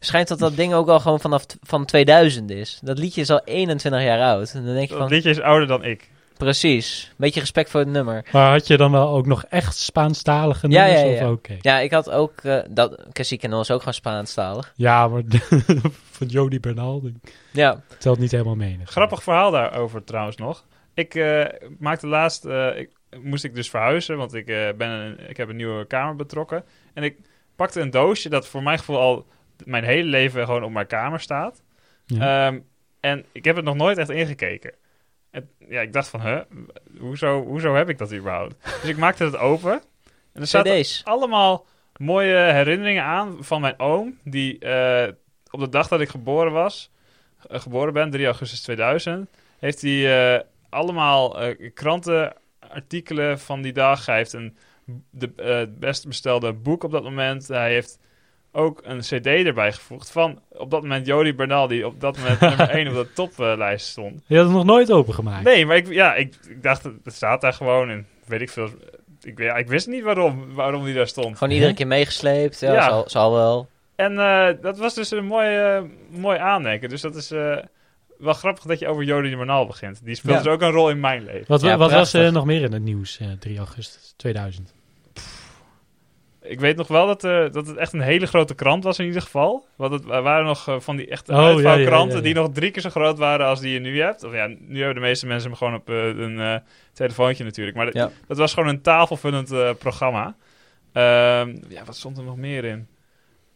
S2: Schijnt dat dat ding ook al gewoon vanaf t- van 2000 is. Dat liedje is al 21 jaar oud. En dan denk je
S1: Dat
S2: van,
S1: liedje is ouder dan ik.
S2: precies. Beetje respect voor het nummer.
S3: Maar had je dan wel ook nog echt Spaanstalige
S2: Ja,
S3: nummers?
S2: ja,
S3: of-
S2: ja.
S3: Oké.
S2: Ja, ik had ook... eh dat, Cassie Canon is ook gewoon Spaanstalig.
S3: Ja, maar [LAUGHS] van Jody Bernal die
S2: Ja,
S3: telt niet helemaal mee.
S1: Grappig verhaal daarover trouwens nog. Ik eh, maakte laatst, eh, ik, moest ik dus verhuizen, want ik, eh, ben een, ik heb een nieuwe kamer betrokken. En ik pakte een doosje dat voor mijn gevoel al mijn hele leven gewoon op mijn kamer staat.
S3: Ja.
S1: Ehm, en ik heb het nog nooit echt ingekeken. En, ja, ik dacht van, huh, hoezo, hoezo heb ik dat überhaupt? Dus ik maakte het open.
S3: [LAUGHS]
S1: En er zaten
S2: CD's.
S1: allemaal mooie herinneringen aan van mijn oom. Die eh, op de dag dat ik geboren was, eh, geboren ben, 3 augustus 2000, heeft hij eh, allemaal eh, krantenartikelen van die dag. Hij heeft een, de, eh, het best bestelde boek op dat moment. Hij heeft ook een cd erbij gevoegd van op dat moment Jody Bernal, die op dat moment nummer 1 op de toplijst stond.
S3: Je had het nog nooit opengemaakt.
S1: Nee, maar ik, ja, ik, ik dacht, het staat daar gewoon en weet ik veel. Ik, weet- ik wist niet waarom, waarom die daar stond.
S2: Gewoon iedere keer meegesleept. Ja,
S1: Ja.
S2: Zal, zal wel.
S1: En eh, dat was dus een mooi, eh, mooi aandenken. Dus dat is eh, wel grappig dat je over Jody de Manal begint. Die speelt
S2: Ja.
S1: dus ook een rol in mijn leven.
S3: Wat,
S2: Ja,
S3: wat was
S2: prachtig.
S3: er nog meer in het nieuws eh, 3 augustus 2000?
S1: Ik weet nog wel dat, eh, dat het echt een hele grote krant was in ieder geval. Want het wa- waren nog eh, van die echte
S3: Oh, ja, ja,
S1: uitvouwkranten
S3: ja, ja.
S1: die nog drie keer zo groot waren als die je nu hebt. Of ja, nu hebben de meeste mensen hem gewoon op eh, een eh, telefoontje natuurlijk. Maar dat,
S2: Ja.
S1: dat was gewoon een tafelvullend eh, programma. Ehm, ja, wat stond er nog meer in?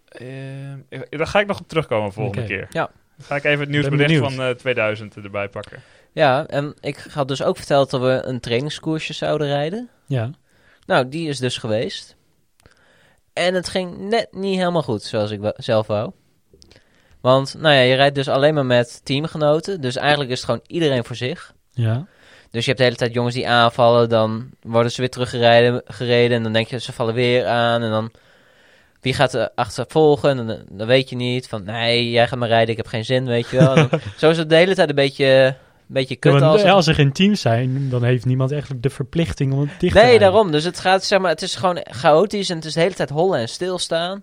S1: Ehm, ik- daar ga ik nog op terugkomen volgende
S3: Oké.
S1: keer.
S2: Ja.
S1: Dan ga ik even het nieuwsbericht
S3: benieuwd.
S1: van eh, 2000 erbij pakken.
S2: Ja, en ik had dus ook verteld dat we een trainingskoersje zouden rijden.
S3: Ja,
S2: Nou, die is dus geweest. En het ging net niet helemaal goed, zoals ik wa- zelf wou. Want, nou ja, je rijdt dus alleen maar met teamgenoten. Dus eigenlijk is het gewoon iedereen voor zich.
S3: Ja.
S2: Dus je hebt de hele tijd jongens die aanvallen, dan worden ze weer teruggereden gereden, en dan denk je ze vallen weer aan en dan wie gaat er achtervolgen? En dan, dan weet je niet van nee, jij gaat maar rijden, ik heb geen zin, weet je wel. En
S3: [LAUGHS]
S2: dan- zo is het de hele tijd een beetje, een beetje
S3: Ja,
S2: kut
S3: maar
S2: als. het-
S3: als er geen teams zijn, dan heeft niemand echt de verplichting om het dicht te
S2: Nee,
S3: rijden.
S2: daarom. Dus het gaat zeg maar, het is gewoon chaotisch en het is de hele tijd hollen en stilstaan.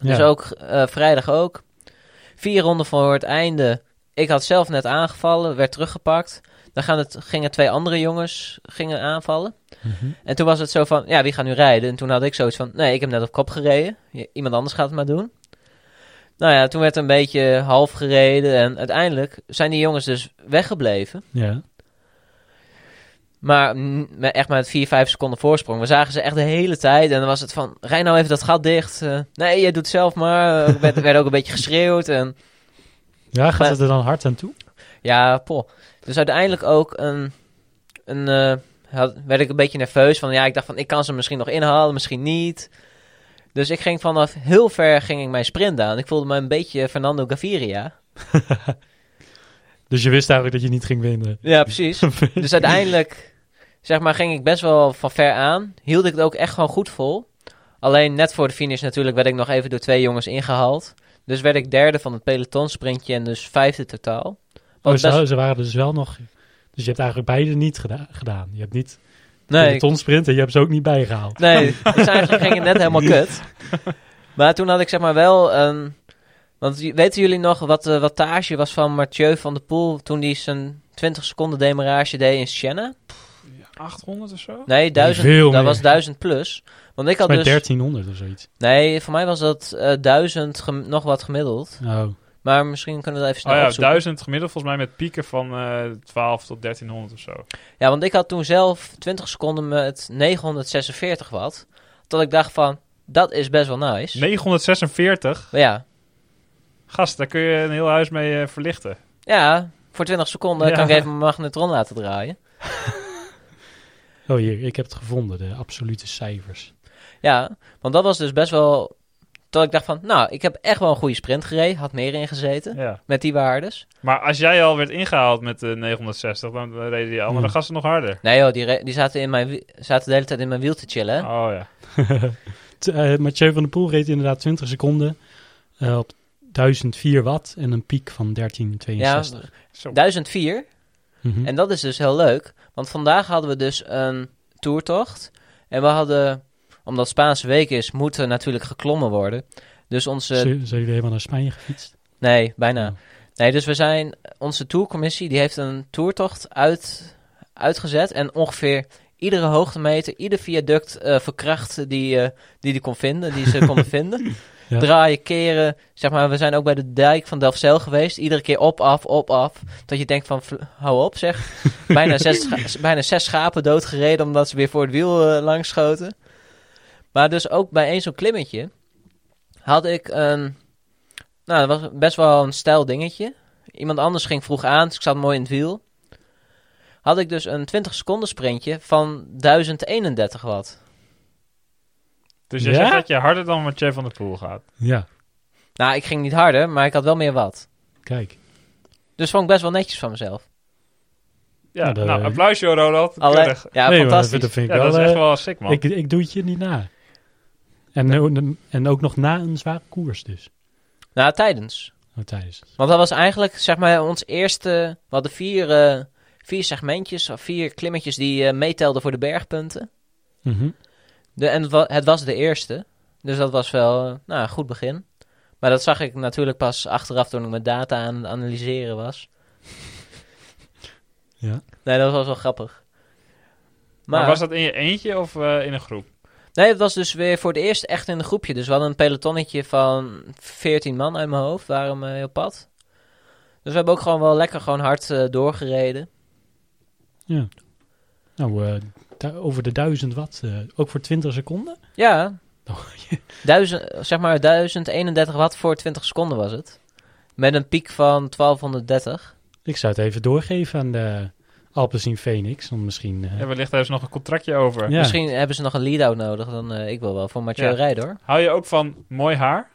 S2: Dus
S3: Ja.
S2: ook eh, vrijdag ook. Vier ronden voor het einde. Ik had zelf net aangevallen, werd teruggepakt. Dan gaan het, gingen twee andere jongens gingen aanvallen.
S3: Mhm.
S2: En toen was het zo van, ja, wie gaat nu rijden? En toen had ik zoiets van, nee, ik heb net op kop gereden. I- Iemand anders gaat het maar doen. Nou ja, toen werd een beetje half gereden. En uiteindelijk zijn die jongens dus weggebleven.
S3: Ja.
S2: Maar mm, met- echt met 4, 5 seconden voorsprong. We zagen ze echt de hele tijd. En dan was het van, rij nou even dat gat dicht. Eh, nee, jij doet het zelf maar. Eh, Er werd, werd ook een beetje geschreeuwd. En
S3: Ja, gaat
S2: Maar-
S3: het er dan hard aan toe?
S2: Ja, poh. Dus uiteindelijk ook een... een eh, had- werd ik een beetje nerveus van... Ja, ik dacht van, ik kan ze misschien nog inhalen, misschien niet. Dus ik ging vanaf heel ver ging ik mijn sprint aan. Ik voelde me een beetje Fernando Gaviria.
S3: Dus je wist eigenlijk dat je niet ging winnen.
S2: Ja, precies. dus uiteindelijk, zeg maar, ging ik best wel van ver aan. Hield ik het ook echt gewoon goed vol. Alleen net voor de finish natuurlijk werd ik nog even door twee jongens ingehaald. Dus werd ik derde van het pelotonsprintje en dus vijfde totaal.
S3: Oh,
S2: Wat best-
S3: ze, ze waren dus wel nog... Dus je hebt eigenlijk beide niet geda- gedaan. Je hebt niet
S2: Nee,
S3: de tonsprint en je hebt ze ook niet bijgehaald.
S2: Nee, dus eigenlijk ging het net helemaal kut. Maar toen had ik zeg maar wel een... Want j- weten jullie nog wat de wattage was van Mathieu van der Poel... toen hij zijn 20 seconden demarage deed in Siena?
S1: 800 of zo?
S2: Nee, 1000,
S3: veel
S2: dat
S3: meer.
S2: was 1000 plus. Want ik had
S3: Met
S2: dus...
S3: 1300 of zoiets.
S2: Nee, voor mij was dat eh 1000 gem- nog wat gemiddeld.
S3: Oh.
S2: Maar misschien kunnen we dat even
S1: Oh
S2: snel
S1: ja,
S2: opzoeken.
S1: 1000 gemiddeld volgens mij met pieken van eh 12 tot 1300 of zo.
S2: Ja, want ik had toen zelf 20 seconden met 946 watt. Tot ik dacht van, dat is best wel nice.
S1: 946?
S2: Maar ja,
S1: Gast, daar kun je een heel huis mee eh, verlichten.
S2: Ja, voor 20 seconden
S1: Ja.
S2: kan ik even mijn magnetron laten draaien.
S3: Oh, hier, ik heb het gevonden, de absolute cijfers.
S2: Ja, want dat was dus best wel... Dat ik dacht van, nou, ik heb echt wel een goede sprint gereden. Had meer ingezeten
S1: Ja.
S2: met die waardes.
S1: Maar als jij al werd ingehaald met de 960, dan eh, reden die andere
S3: Hmm.
S1: gasten nog harder.
S2: Nee joh, die, re- die zaten, in mijn, wi- zaten de hele tijd in mijn wiel te chillen. hè.
S1: Oh ja.
S3: T- eh, Mathieu van der Poel reed inderdaad 20 seconden eh, op 1004 watt en een piek van 1362.
S1: Zo.
S2: 1004.
S3: Mhm.
S1: Hm.
S2: En dat is dus heel leuk. Want vandaag hadden we dus een toertocht. En we hadden, omdat Spaanse week is, moet er natuurlijk geklommen worden. Dus onze
S3: Z- Zijn jullie helemaal naar Spanje gefietst?
S2: Nee, bijna.
S3: Oh.
S2: Nee, dus we zijn, onze tourcommissie die heeft een toertocht uit, uitgezet. En ongeveer iedere hoogtemeter, ieder viaduct eh, verkracht die, eh, die die kon vinden, die ze konden vinden.
S3: Ja.
S2: Draaien, keren. Zeg maar, we zijn ook bij de dijk van Delfzijl geweest. Iedere keer op, af, op, af. Dat je denkt van, vl- hou op zeg. bijna, zes, scha- bijna zes schapen doodgereden omdat ze weer voor het wiel eh, langs schoten. Maar dus ook bij één zo'n klimmetje had ik een... Nou, dat was best wel een stijl dingetje. Iemand anders ging vroeg aan, dus ik zat mooi in het wiel. Had ik dus een 20 seconden sprintje van 1031 watt.
S1: Dus jij
S3: Ja?
S1: zegt dat je harder dan Mathieu van der Poel gaat.
S3: Ja,
S2: Nou, ik ging niet harder, maar ik had wel meer watt.
S3: kijk.
S2: Dus vond ik best wel netjes van mezelf.
S1: Ja,
S3: Nou, dat-
S1: nou, applausje Ronald.
S2: Alleen,
S1: Keurig.
S2: ja,
S3: Nee, maar dat
S2: fantastisch.
S3: vind- dat vind ik
S1: Ja,
S3: wel...
S1: dat is echt
S3: eh,
S1: wel sick, man.
S3: ik, ik doe het je niet na. En, nou- en ook nog na een zware koers dus.
S2: Nou, tijdens.
S3: Oh, tijdens.
S2: Want dat was eigenlijk, zeg maar, ons eerste... We hadden vier, eh, vier segmentjes, of vier klimmetjes die eh, meetelden voor de bergpunten.
S3: Mhm.
S2: De, en het, wa- het was de eerste. Dus dat was wel eh, nou, een goed begin. Maar dat zag ik natuurlijk pas achteraf toen ik mijn data aan het analyseren was.
S3: Ja.
S2: Nee, dat was wel grappig.
S1: maar,
S2: Maar,
S1: was dat in je eentje of eh, in een groep?
S2: Nee, het was dus weer voor het eerst echt in een groepje. Dus we hadden een pelotonnetje van 14 man uit mijn hoofd, waren we op pad. Dus we hebben ook gewoon wel lekker gewoon hard eh, doorgereden.
S3: Nou, eh, du- over de 1000 watt, eh, ook voor 20 seconden?
S1: [LAUGHS]
S2: Ja,
S3: Oh,
S2: duizend, zeg maar 1031 watt voor 20 seconden was het. Met een piek van 1230.
S3: Ik zou het even doorgeven aan de Alpecin Phoenix. Dan misschien... eh,
S1: Ja, wellicht hebben ze nog een contractje over.
S3: Ja.
S2: Misschien hebben ze nog een lead-out nodig. Dan eh, ik wil wel voor Mathieu
S1: Ja.
S2: rijden hoor.
S1: Hou je ook van mooi haar?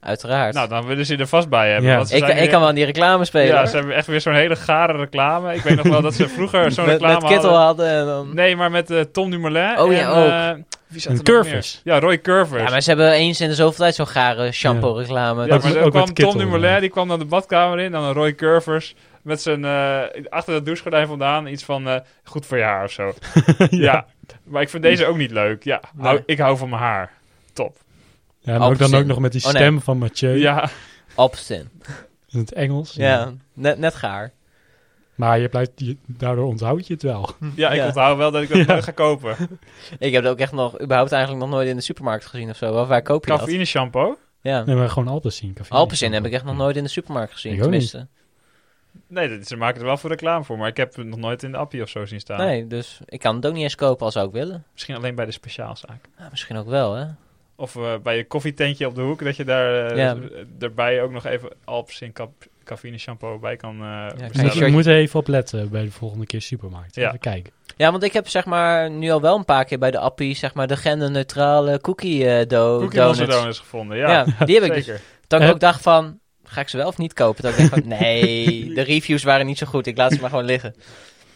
S2: Uiteraard.
S1: Nou, dan willen ze je er vast bij hebben.
S3: Ja.
S1: want ze
S2: ik,
S1: zijn
S2: ik
S1: weer-
S2: kan wel in die reclame spelen.
S1: Ja,
S2: hoor.
S1: ze hebben echt weer zo'n hele gare reclame. Ik weet nog wel dat
S2: [LAUGHS]
S1: ze vroeger zo'n
S2: met,
S1: reclame
S2: met Kittel
S1: hadden.
S2: hadden. en dan-
S1: Nee, maar met eh, Tom Dumoulin.
S2: Oh
S1: en,
S2: ja,
S1: eh, wie zat er nog
S3: Een Curvis.
S1: meer? Ja, Roy Curvers.
S2: Ja, maar ze hebben eens in de zoveel tijd zo'n gare shampoo-reclame.
S1: Ja,
S3: Ook-
S1: maar dan
S3: ook
S1: kwam
S3: met Kittel,
S1: Tom Dumoulin,
S3: ja.
S1: die kwam dan de badkamer in. Dan een Roy Curvers met zijn, eh, achter dat douchegordijn vandaan iets van eh, goed voor je haar of
S2: [LAUGHS]
S1: zo. ja. maar ik vind deze ook niet leuk. Ja, hou-
S2: Nee.
S1: ik hou van mijn haar. Top.
S3: Ja, en ook dan
S2: Alpecin.
S3: ook nog met die
S2: Oh, nee.
S3: stem van Mathieu
S1: Ja, [LAUGHS]
S2: Alpecin.
S3: in het Engels.
S2: Ja, net, net gaar.
S3: Maar je blijft, je- daardoor onthoud je het wel.
S1: ja ik
S2: [LAUGHS] Ja.
S1: onthoud wel dat ik dat nooit ga kopen.
S2: Ik heb dat ook echt nog, überhaupt eigenlijk nog nooit in de supermarkt gezien of zo. Waar, waar koop je dat?
S1: Cafeïne shampoo?
S2: Ja.
S3: Nee, maar gewoon Alpecin. café.
S2: Alpecin heb ik echt nog nooit in de supermarkt gezien,
S3: Ik ook niet.
S2: tenminste.
S1: Nee, dat- ze maken er wel voor reclame voor, maar ik heb het nog nooit in de appie of zo zien staan.
S2: Nee, dus ik kan het ook niet eens kopen als zou ik willen.
S1: Misschien alleen bij de speciaalzaak.
S2: Nou, misschien ook wel, hè.
S1: Of eh, bij je koffietentje op de hoek, dat je daar eh
S2: Ja.
S1: daarbij ook nog even Alps in kap- cafeïne shampoo bij kan eh
S3: Dus
S1: bestellen.
S3: moet,
S2: kijk,
S3: je moet er even op letten bij de volgende keer supermarkt.
S1: Ja.
S3: Even kijken.
S2: Ja, want ik heb zeg maar nu al wel een paar keer bij de appie, zeg maar, de genderneutrale cookie eh do
S1: Cookie Monster
S2: donuts.
S1: Donuts gevonden,
S2: Ja,
S1: ja.
S2: die heb ik dus.
S1: Zeker.
S2: Dat ik
S3: Eh.
S2: ook dacht van, ga ik ze wel of niet kopen? Dat ik dacht van, nee, de reviews waren niet zo goed. Ik laat ze maar gewoon liggen.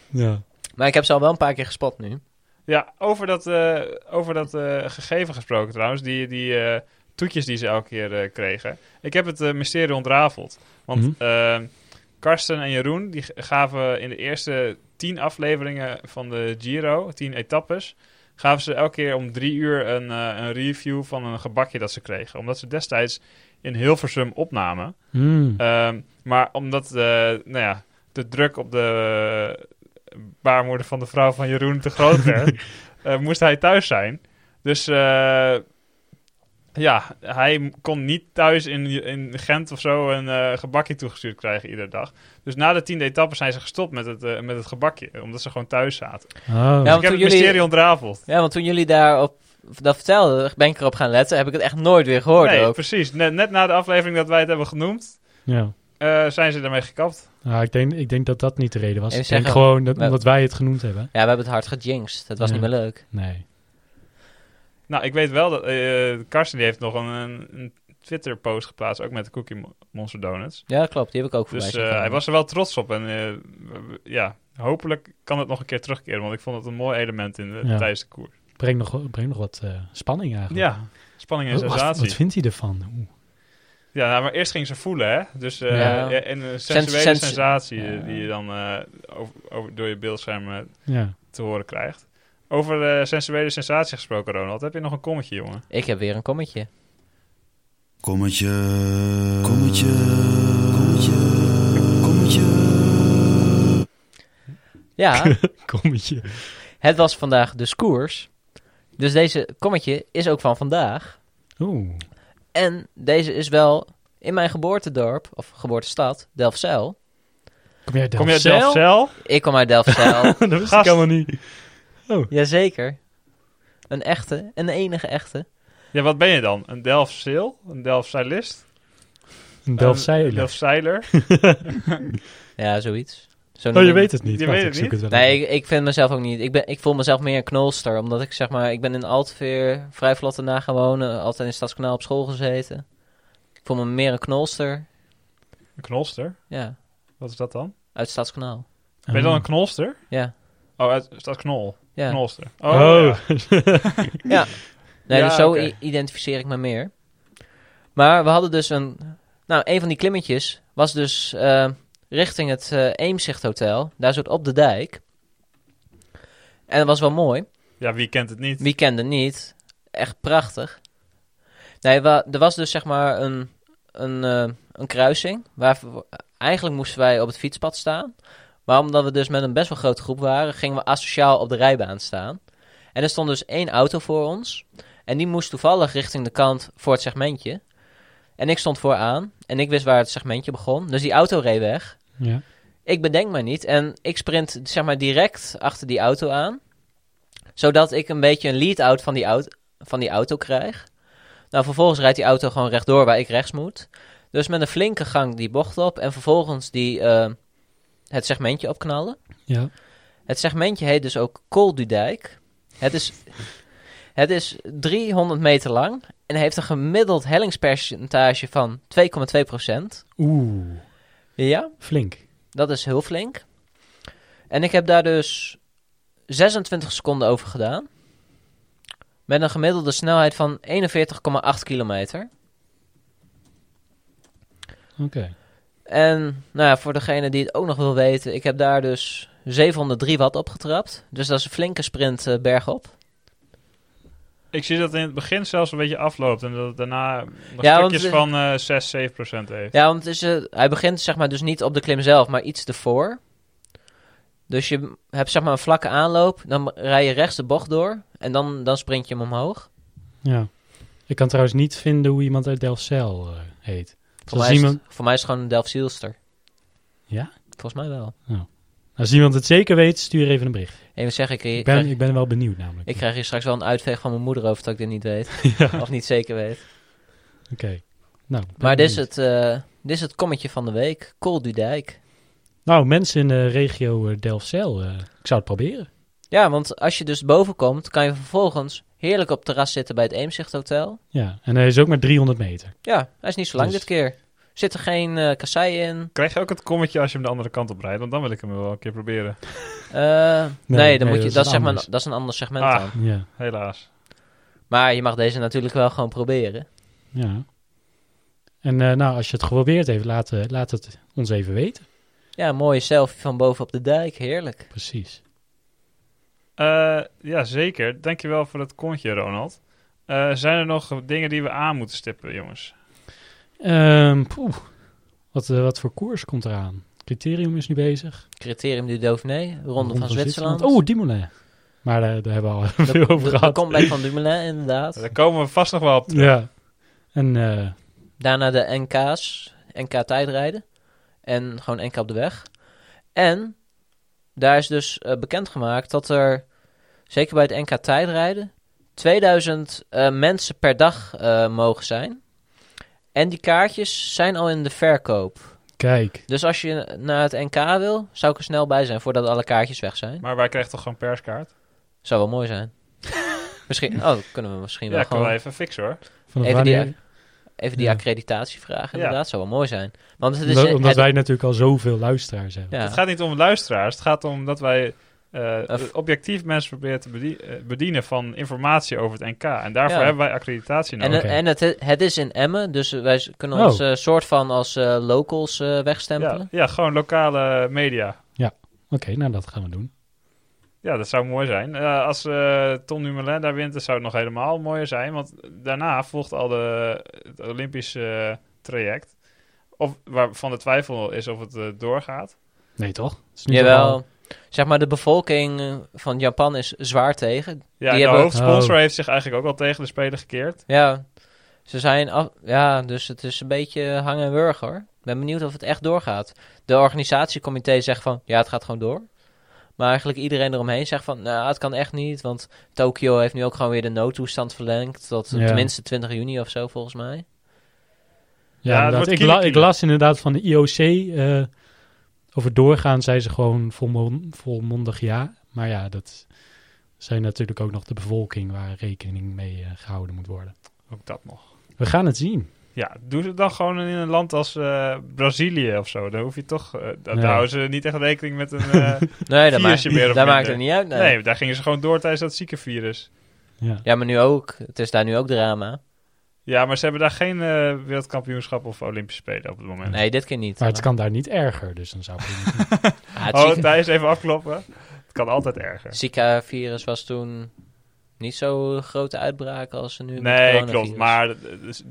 S3: Ja.
S2: Maar ik heb ze al wel een paar keer gespot nu.
S1: Ja, over dat, eh, over dat eh, gegeven gesproken trouwens, die, die eh, toetjes die ze elke keer eh, kregen. Ik heb het eh, mysterie ontrafeld. Want
S3: Mhm.
S1: eh, Karsten en Jeroen die g- gaven in de eerste tien afleveringen van de Giro, tien etappes, gaven ze elke keer om drie uur een, eh, een review van een gebakje dat ze kregen. Omdat ze destijds in Hilversum opnamen.
S3: Mm.
S1: Ehm, maar omdat eh, nou ja, de druk op de eh, baarmoeder van de vrouw van Jeroen te groot werd, eh, moest hij thuis zijn. Dus eh, ja, hij m- kon niet thuis in, in Gent of zo een eh, gebakje toegestuurd krijgen iedere dag. Dus na de tiende etappe zijn ze gestopt met het, eh, met het gebakje, omdat ze gewoon thuis zaten. Dus
S3: Oh.
S2: Ja,
S1: ik heb
S2: toen
S1: het
S2: jullie-
S1: mysterie ontrafeld.
S2: Ja, want toen jullie daarop dat vertelden, ben ik erop gaan letten, heb ik het echt nooit weer gehoord
S1: Nee,
S2: ook.
S1: precies. Net, net na de aflevering dat wij het hebben genoemd,
S3: ja.
S1: eh, zijn ze daarmee gekapt.
S3: Nou, ik, denk, ik denk dat dat niet de reden was.
S2: Even
S3: Ik denk
S2: zeggen-
S3: gewoon dat,
S2: Nou.
S3: omdat wij het genoemd hebben.
S2: Ja, we hebben het hard gejinxed. Dat was
S3: Ja.
S2: niet meer leuk.
S3: Nee.
S1: Nou, ik weet wel dat eh Karsten die heeft nog een, een, een Twitter-post geplaatst, ook met de Cookie Mo- Monster Donuts.
S2: Ja, klopt. Die heb ik ook voorbij
S1: Dus
S2: zien
S1: eh,
S2: komen.
S1: hij was er wel trots op. En eh, w- w- ja, hopelijk kan het nog een keer terugkeren, want ik vond het een mooi element in de,
S3: Ja.
S1: tijdens de koers.
S3: Brengt nog, brengt nog wat eh, spanning eigenlijk. Oh,
S1: Ja, spanning en
S3: Wat- wat,
S1: sensatie.
S3: wat vindt hij ervan? Oeh.
S1: Ja, nou, maar eerst ging ze voelen, hè? Dus, eh,
S2: Ja.
S1: ja, En een sensuele
S2: sens-
S1: sensatie
S3: Ja.
S1: eh, die je dan eh, over, over- door je beeldscherm eh,
S3: Ja.
S1: te horen krijgt. Over eh, sensuele sensatie gesproken, Ronald. Heb je nog een kommetje, jongen?
S2: Ik heb weer een kommetje.
S6: Kommetje. Kommetje. Kommetje. Kommetje.
S2: Ja, [LAUGHS]
S3: Kommetje.
S2: het was vandaag de koers. Dus deze kommetje is ook van vandaag.
S3: Oeh.
S2: En deze is wel in mijn geboortedorp, of geboortestad, Delfzijl.
S3: Kom jij
S1: Kom je uit
S3: zelf?
S1: Delfzijl?
S2: Ik kom uit Delfzijl.
S3: [LAUGHS] dat wist
S1: Gast.
S3: ik helemaal niet.
S2: Jazeker. Een echte, een enige echte.
S1: Ja, wat ben je dan? Een Delfzeel? Een Delfzijlist?
S3: Een
S1: Een
S3: Delfzijlen.
S1: Delfzijler?
S2: Ja, zoiets. Zo
S3: Oh,
S2: noemen
S3: je
S2: we-
S3: weet het niet.
S1: Je
S3: Wacht,
S1: weet
S3: ik
S1: het
S3: zoek
S1: niet?
S3: het wel
S2: Nee,
S3: even.
S2: ik, ik vind mezelf ook niet. Ik, ben, ik voel mezelf meer een knolster. Omdat ik zeg maar, ik ben in Altveer vrij vlot daarna gaan wonen. Altijd in Stadskanaal op school gezeten. Ik voel me meer een knolster.
S1: Een knolster?
S2: Ja,
S1: Wat is dat dan?
S2: uit Stadskanaal.
S1: Ben
S3: Oh. Ah.
S1: je dan een knolster?
S2: Ja,
S1: Oh, uit, staat knol.
S2: ja.
S1: Knolster.
S3: Oh,
S1: Oh, ja.
S2: Ja. Nee,
S1: Ja,
S2: dus zo
S1: oké.
S2: i- identificeer ik me meer. Maar we hadden dus een... Nou, een van die klimmetjes was dus eh, richting het eh Eemzicht Hotel. Daar zit op de dijk. En dat was wel mooi.
S1: Ja, wie kent het niet?
S2: Wie kende niet? Echt prachtig. Nee, wa- er was dus zeg maar een, een, eh, een kruising. Waar we- eigenlijk moesten wij op het fietspad staan. Maar omdat we dus met een best wel grote groep waren, gingen we asociaal op de rijbaan staan. En er stond dus één auto voor ons. En die moest toevallig richting de kant voor het segmentje. En ik stond vooraan. En ik wist waar het segmentje begon. Dus die auto reed weg.
S3: Ja.
S2: Ik bedenk mij niet en ik sprint zeg maar direct achter die auto aan. Zodat ik een beetje een lead-out van, die auto- van die auto krijg. Nou, vervolgens rijdt die auto gewoon rechtdoor waar ik rechts moet. Dus met een flinke gang die bocht op en vervolgens die, eh, het segmentje opknallen.
S3: Ja.
S2: Het segmentje heet dus ook Koldudijk. Het is, het is 300 meter lang en heeft een gemiddeld hellingspercentage van 2,2%.
S3: Oeh,
S2: Ja,
S3: flink.
S2: dat is heel flink. En ik heb daar dus 26 seconden over gedaan. Met een gemiddelde snelheid van 41,8 kilometer.
S3: Oké.
S2: En nou ja, voor degene die het ook nog wil weten, ik heb daar dus 703 watt opgetrapt. Dus dat is een flinke sprint eh, bergop.
S1: Ik zie dat het in het begin zelfs een beetje afloopt en dat het daarna nog
S2: Ja, want
S1: stukjes
S2: we-
S1: van eh 6, 7 procent heeft.
S2: Ja, want het is, eh, hij begint zeg maar dus niet op de klim zelf, maar iets ervoor. Dus je hebt zeg maar een vlakke aanloop, dan rij je rechts de bocht door en dan, dan sprint je hem omhoog.
S3: Ja. Ik kan trouwens niet vinden hoe iemand uit Delcel eh heet.
S2: Voor
S3: Als
S2: mij, is het,
S3: iemand-
S2: voor mij is het gewoon een Delft-Zielster.
S3: Ja?
S2: Volgens mij wel.
S3: Als iemand het zeker weet, stuur even een bericht.
S2: Even zeggen, ik,
S3: Ik
S2: ik,
S3: ben,
S2: krijg,
S3: ik ben wel benieuwd namelijk.
S2: ik krijg hier straks wel een uitveeg van mijn moeder over dat ik dit niet weet.
S3: [LAUGHS] Ja,
S2: Of niet zeker weet.
S3: oké. Nou, ben
S2: Maar dit is,
S3: benieuwd.
S2: het, eh, dit is het kommetje van de week. Col du Dijk.
S3: Nou, mensen in de regio eh, Delfzijl, eh, ik zou het proberen.
S2: Ja, want als je dus boven komt, kan je vervolgens heerlijk op het terras zitten bij het Eemzicht Hotel.
S3: Ja, en hij is ook maar 300 meter.
S2: Ja, hij is niet zo lang
S3: Dus-
S2: dit keer. Zit er geen eh kassei in?
S1: Krijg je ook het kommetje als je hem de andere kant op rijdt? Want dan wil ik hem wel een keer proberen.
S2: Eh, nee, dan
S3: nee,
S2: moet je,
S3: dat is
S2: dat, is zeg maar,
S3: anders.
S2: dat is een ander segment
S1: Ah.
S2: dan.
S3: Ja,
S1: Helaas.
S2: Maar je mag deze natuurlijk wel gewoon proberen.
S3: ja. En eh, nou, als je het geprobeerd heeft, laat, eh, laat het ons even weten.
S2: Ja, een mooie selfie van boven op de dijk. Heerlijk.
S3: Precies.
S1: Eh, ja, zeker. Dankjewel voor dat kontje, Ronald. Eh, zijn er nog dingen die we aan moeten stippen, jongens?
S3: Ehm, poeh. wat, eh, wat voor koers komt eraan? Criterium is nu bezig.
S2: Criterium du Dauphiné, Ronde, van, Zwitserland.
S3: Oh, Dimoulin. Maar eh, daar, daar hebben we al [LAUGHS] veel over
S2: de, de
S3: gehad.
S2: comeback van Dumoulin, inderdaad.
S1: Daar komen we vast nog wel op.
S3: Ja. En eh,
S2: Daarna de NK's, NK tijdrijden. En gewoon NK op de weg. En daar is dus eh, bekendgemaakt dat er, zeker bij het NK tijdrijden, 2000 eh, mensen per dag eh, mogen zijn. En die kaartjes zijn al in de verkoop.
S3: kijk.
S2: Dus als je naar het NK wil, zou ik er snel bij zijn voordat alle kaartjes weg zijn.
S1: Maar wij krijgen toch gewoon perskaart?
S2: Zou wel mooi zijn. misschien, oh, dat kunnen we misschien
S1: Ja,
S2: wel
S1: ik kan wel
S2: gewoon
S1: even fixen hoor.
S3: Vanaf
S2: Even die-
S3: wanneer-
S2: even die
S3: Ja.
S2: accreditatie vragen.
S1: Ja.
S2: Inderdaad, zou wel mooi zijn. Want het is
S3: omdat,
S2: het-
S3: omdat wij natuurlijk al zoveel luisteraars hebben.
S2: ja.
S1: Het gaat niet om luisteraars. Het gaat om dat wij eh,
S2: Eh, f-
S1: objectief mensen proberen te bedie- eh, bedienen van informatie over het NK. En daarvoor
S2: Ja.
S1: hebben wij accreditatie
S2: En, eh,
S1: nodig.
S3: nou oké.
S2: en het, het is in Emmen, dus wij z- kunnen
S3: Oh.
S2: ons eh, soort van als eh, locals eh,
S1: ja,
S2: wegstempelen.
S1: ja, gewoon lokale media.
S3: Oké, nou dat gaan we doen.
S1: Ja, dat zou mooi zijn. Eh, als eh, Tom Dumoulin daar wint, dan zou het nog helemaal mooier zijn. Want daarna volgt al de, het Olympische eh, traject. Of waarvan de twijfel is of het eh, doorgaat.
S3: Nee, toch? Het is nu toch
S2: Jawel,
S3: al-
S2: zeg maar de bevolking eh, van Japan is zwaar tegen.
S1: Ja,
S2: Die
S1: en de
S2: hebben-
S1: hoofdsponsor
S3: Oh.
S1: heeft zich eigenlijk ook al tegen de speler gekeerd.
S2: Ja, ze zijn af, ja, dus het is een beetje hang en wurg hoor. Ik ben benieuwd of het echt doorgaat. De organisatiecomité zegt van, ja het gaat gewoon door. Maar eigenlijk iedereen eromheen zegt van, nou het kan echt niet. Want Tokio heeft nu ook gewoon weer de noodtoestand verlengd. Tot
S3: Ja.
S2: tenminste 20 juni of zo volgens mij.
S3: Ja,
S1: Ja, het
S3: inderdaad.
S1: wordt
S3: ik, la-
S1: kiele-kiele.
S3: ik las inderdaad van de IOC. eh, over doorgaan zei ze gewoon volmon- volmondig ja. Maar ja, dat zijn natuurlijk ook nog de bevolking waar rekening mee eh, gehouden moet worden.
S1: Ook dat nog.
S3: We gaan het zien.
S1: Ja, doe ze dan gewoon in een land als eh, Brazilië of zo. Dan hoef je toch. eh, da- daar
S3: Ja.
S1: houden ze niet echt rekening met een. eh,
S2: Nee, dat,
S1: Virusje meer
S2: maakt,
S1: of
S2: dat
S1: minder.
S2: maakt het niet uit.
S1: nee.
S2: nee.
S1: daar gingen ze gewoon door tijdens dat ziekenvirus.
S3: Ja.
S2: Ja, maar nu ook. Het is daar nu ook drama.
S1: Ja, maar ze hebben daar geen eh, wereldkampioenschap of Olympische Spelen op het moment.
S2: Nee, dit keer niet.
S3: Maar het kan daar niet erger, dus dan zou ik
S1: [LAUGHS]
S3: het niet-
S2: Ah, het
S1: Oh,
S2: Zika,
S1: Thijs, even afkloppen. Het kan altijd erger.
S2: Zika-virus was toen niet zo'n grote uitbraak als er nu met
S1: Nee,
S2: coronavirus.
S1: klopt. Maar eh,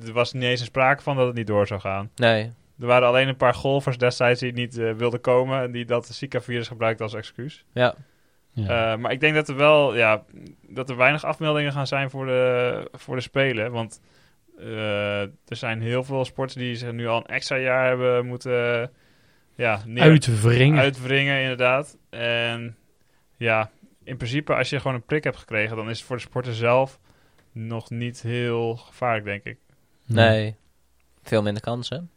S1: er was niet eens een sprake van dat het niet door zou gaan.
S2: Nee,
S1: Er waren alleen een paar golfers destijds die niet eh, wilden komen. En die dat Zika-virus gebruikten als excuus.
S2: ja.
S3: ja.
S1: Eh, maar ik denk dat er wel, ja, dat er weinig afmeldingen gaan zijn voor de, voor de Spelen. Want eh, er zijn heel veel sporters die zich nu al een extra jaar hebben moeten eh, ja, neer-
S3: Uitwringen.
S1: uitwringen, inderdaad. En ja, in principe als je gewoon een prik hebt gekregen, dan is het voor de sporter zelf nog niet heel gevaarlijk, denk ik.
S2: nee. Veel minder kansen.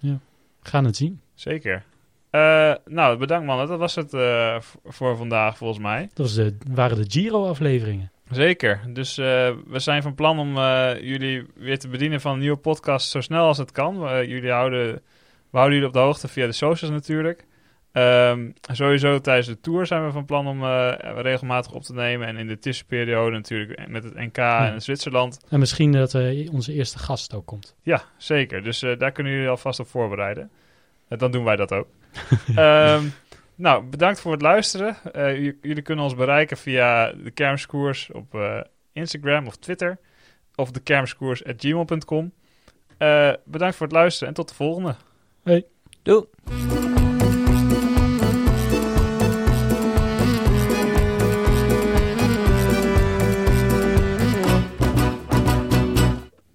S3: We gaan het zien.
S1: Zeker. Eh, nou, bedankt mannen. Dat was het eh, v- voor vandaag volgens mij.
S3: Dat was de, waren de Giro-afleveringen.
S1: Zeker. Dus eh, we zijn van plan om eh, jullie weer te bedienen van een nieuwe podcast zo snel als het kan. We- jullie houden, we houden jullie op de hoogte via de socials natuurlijk. Ehm, sowieso tijdens de tour zijn we van plan om eh, regelmatig op te nemen. En in de tussenperiode natuurlijk met het NK en Zwitserland.
S3: En misschien dat eh, onze eerste gast ook komt.
S1: Ja, zeker. Dus eh, daar kunnen jullie alvast op voorbereiden. Eh, dan doen wij dat ook. Ehm, nou, bedankt voor het luisteren. Eh, j- jullie kunnen ons bereiken via de kermiskoers op eh, Instagram of Twitter. Of de kermiskoers.gmail.com. Eh bedankt voor het luisteren en tot de volgende.
S2: Doei!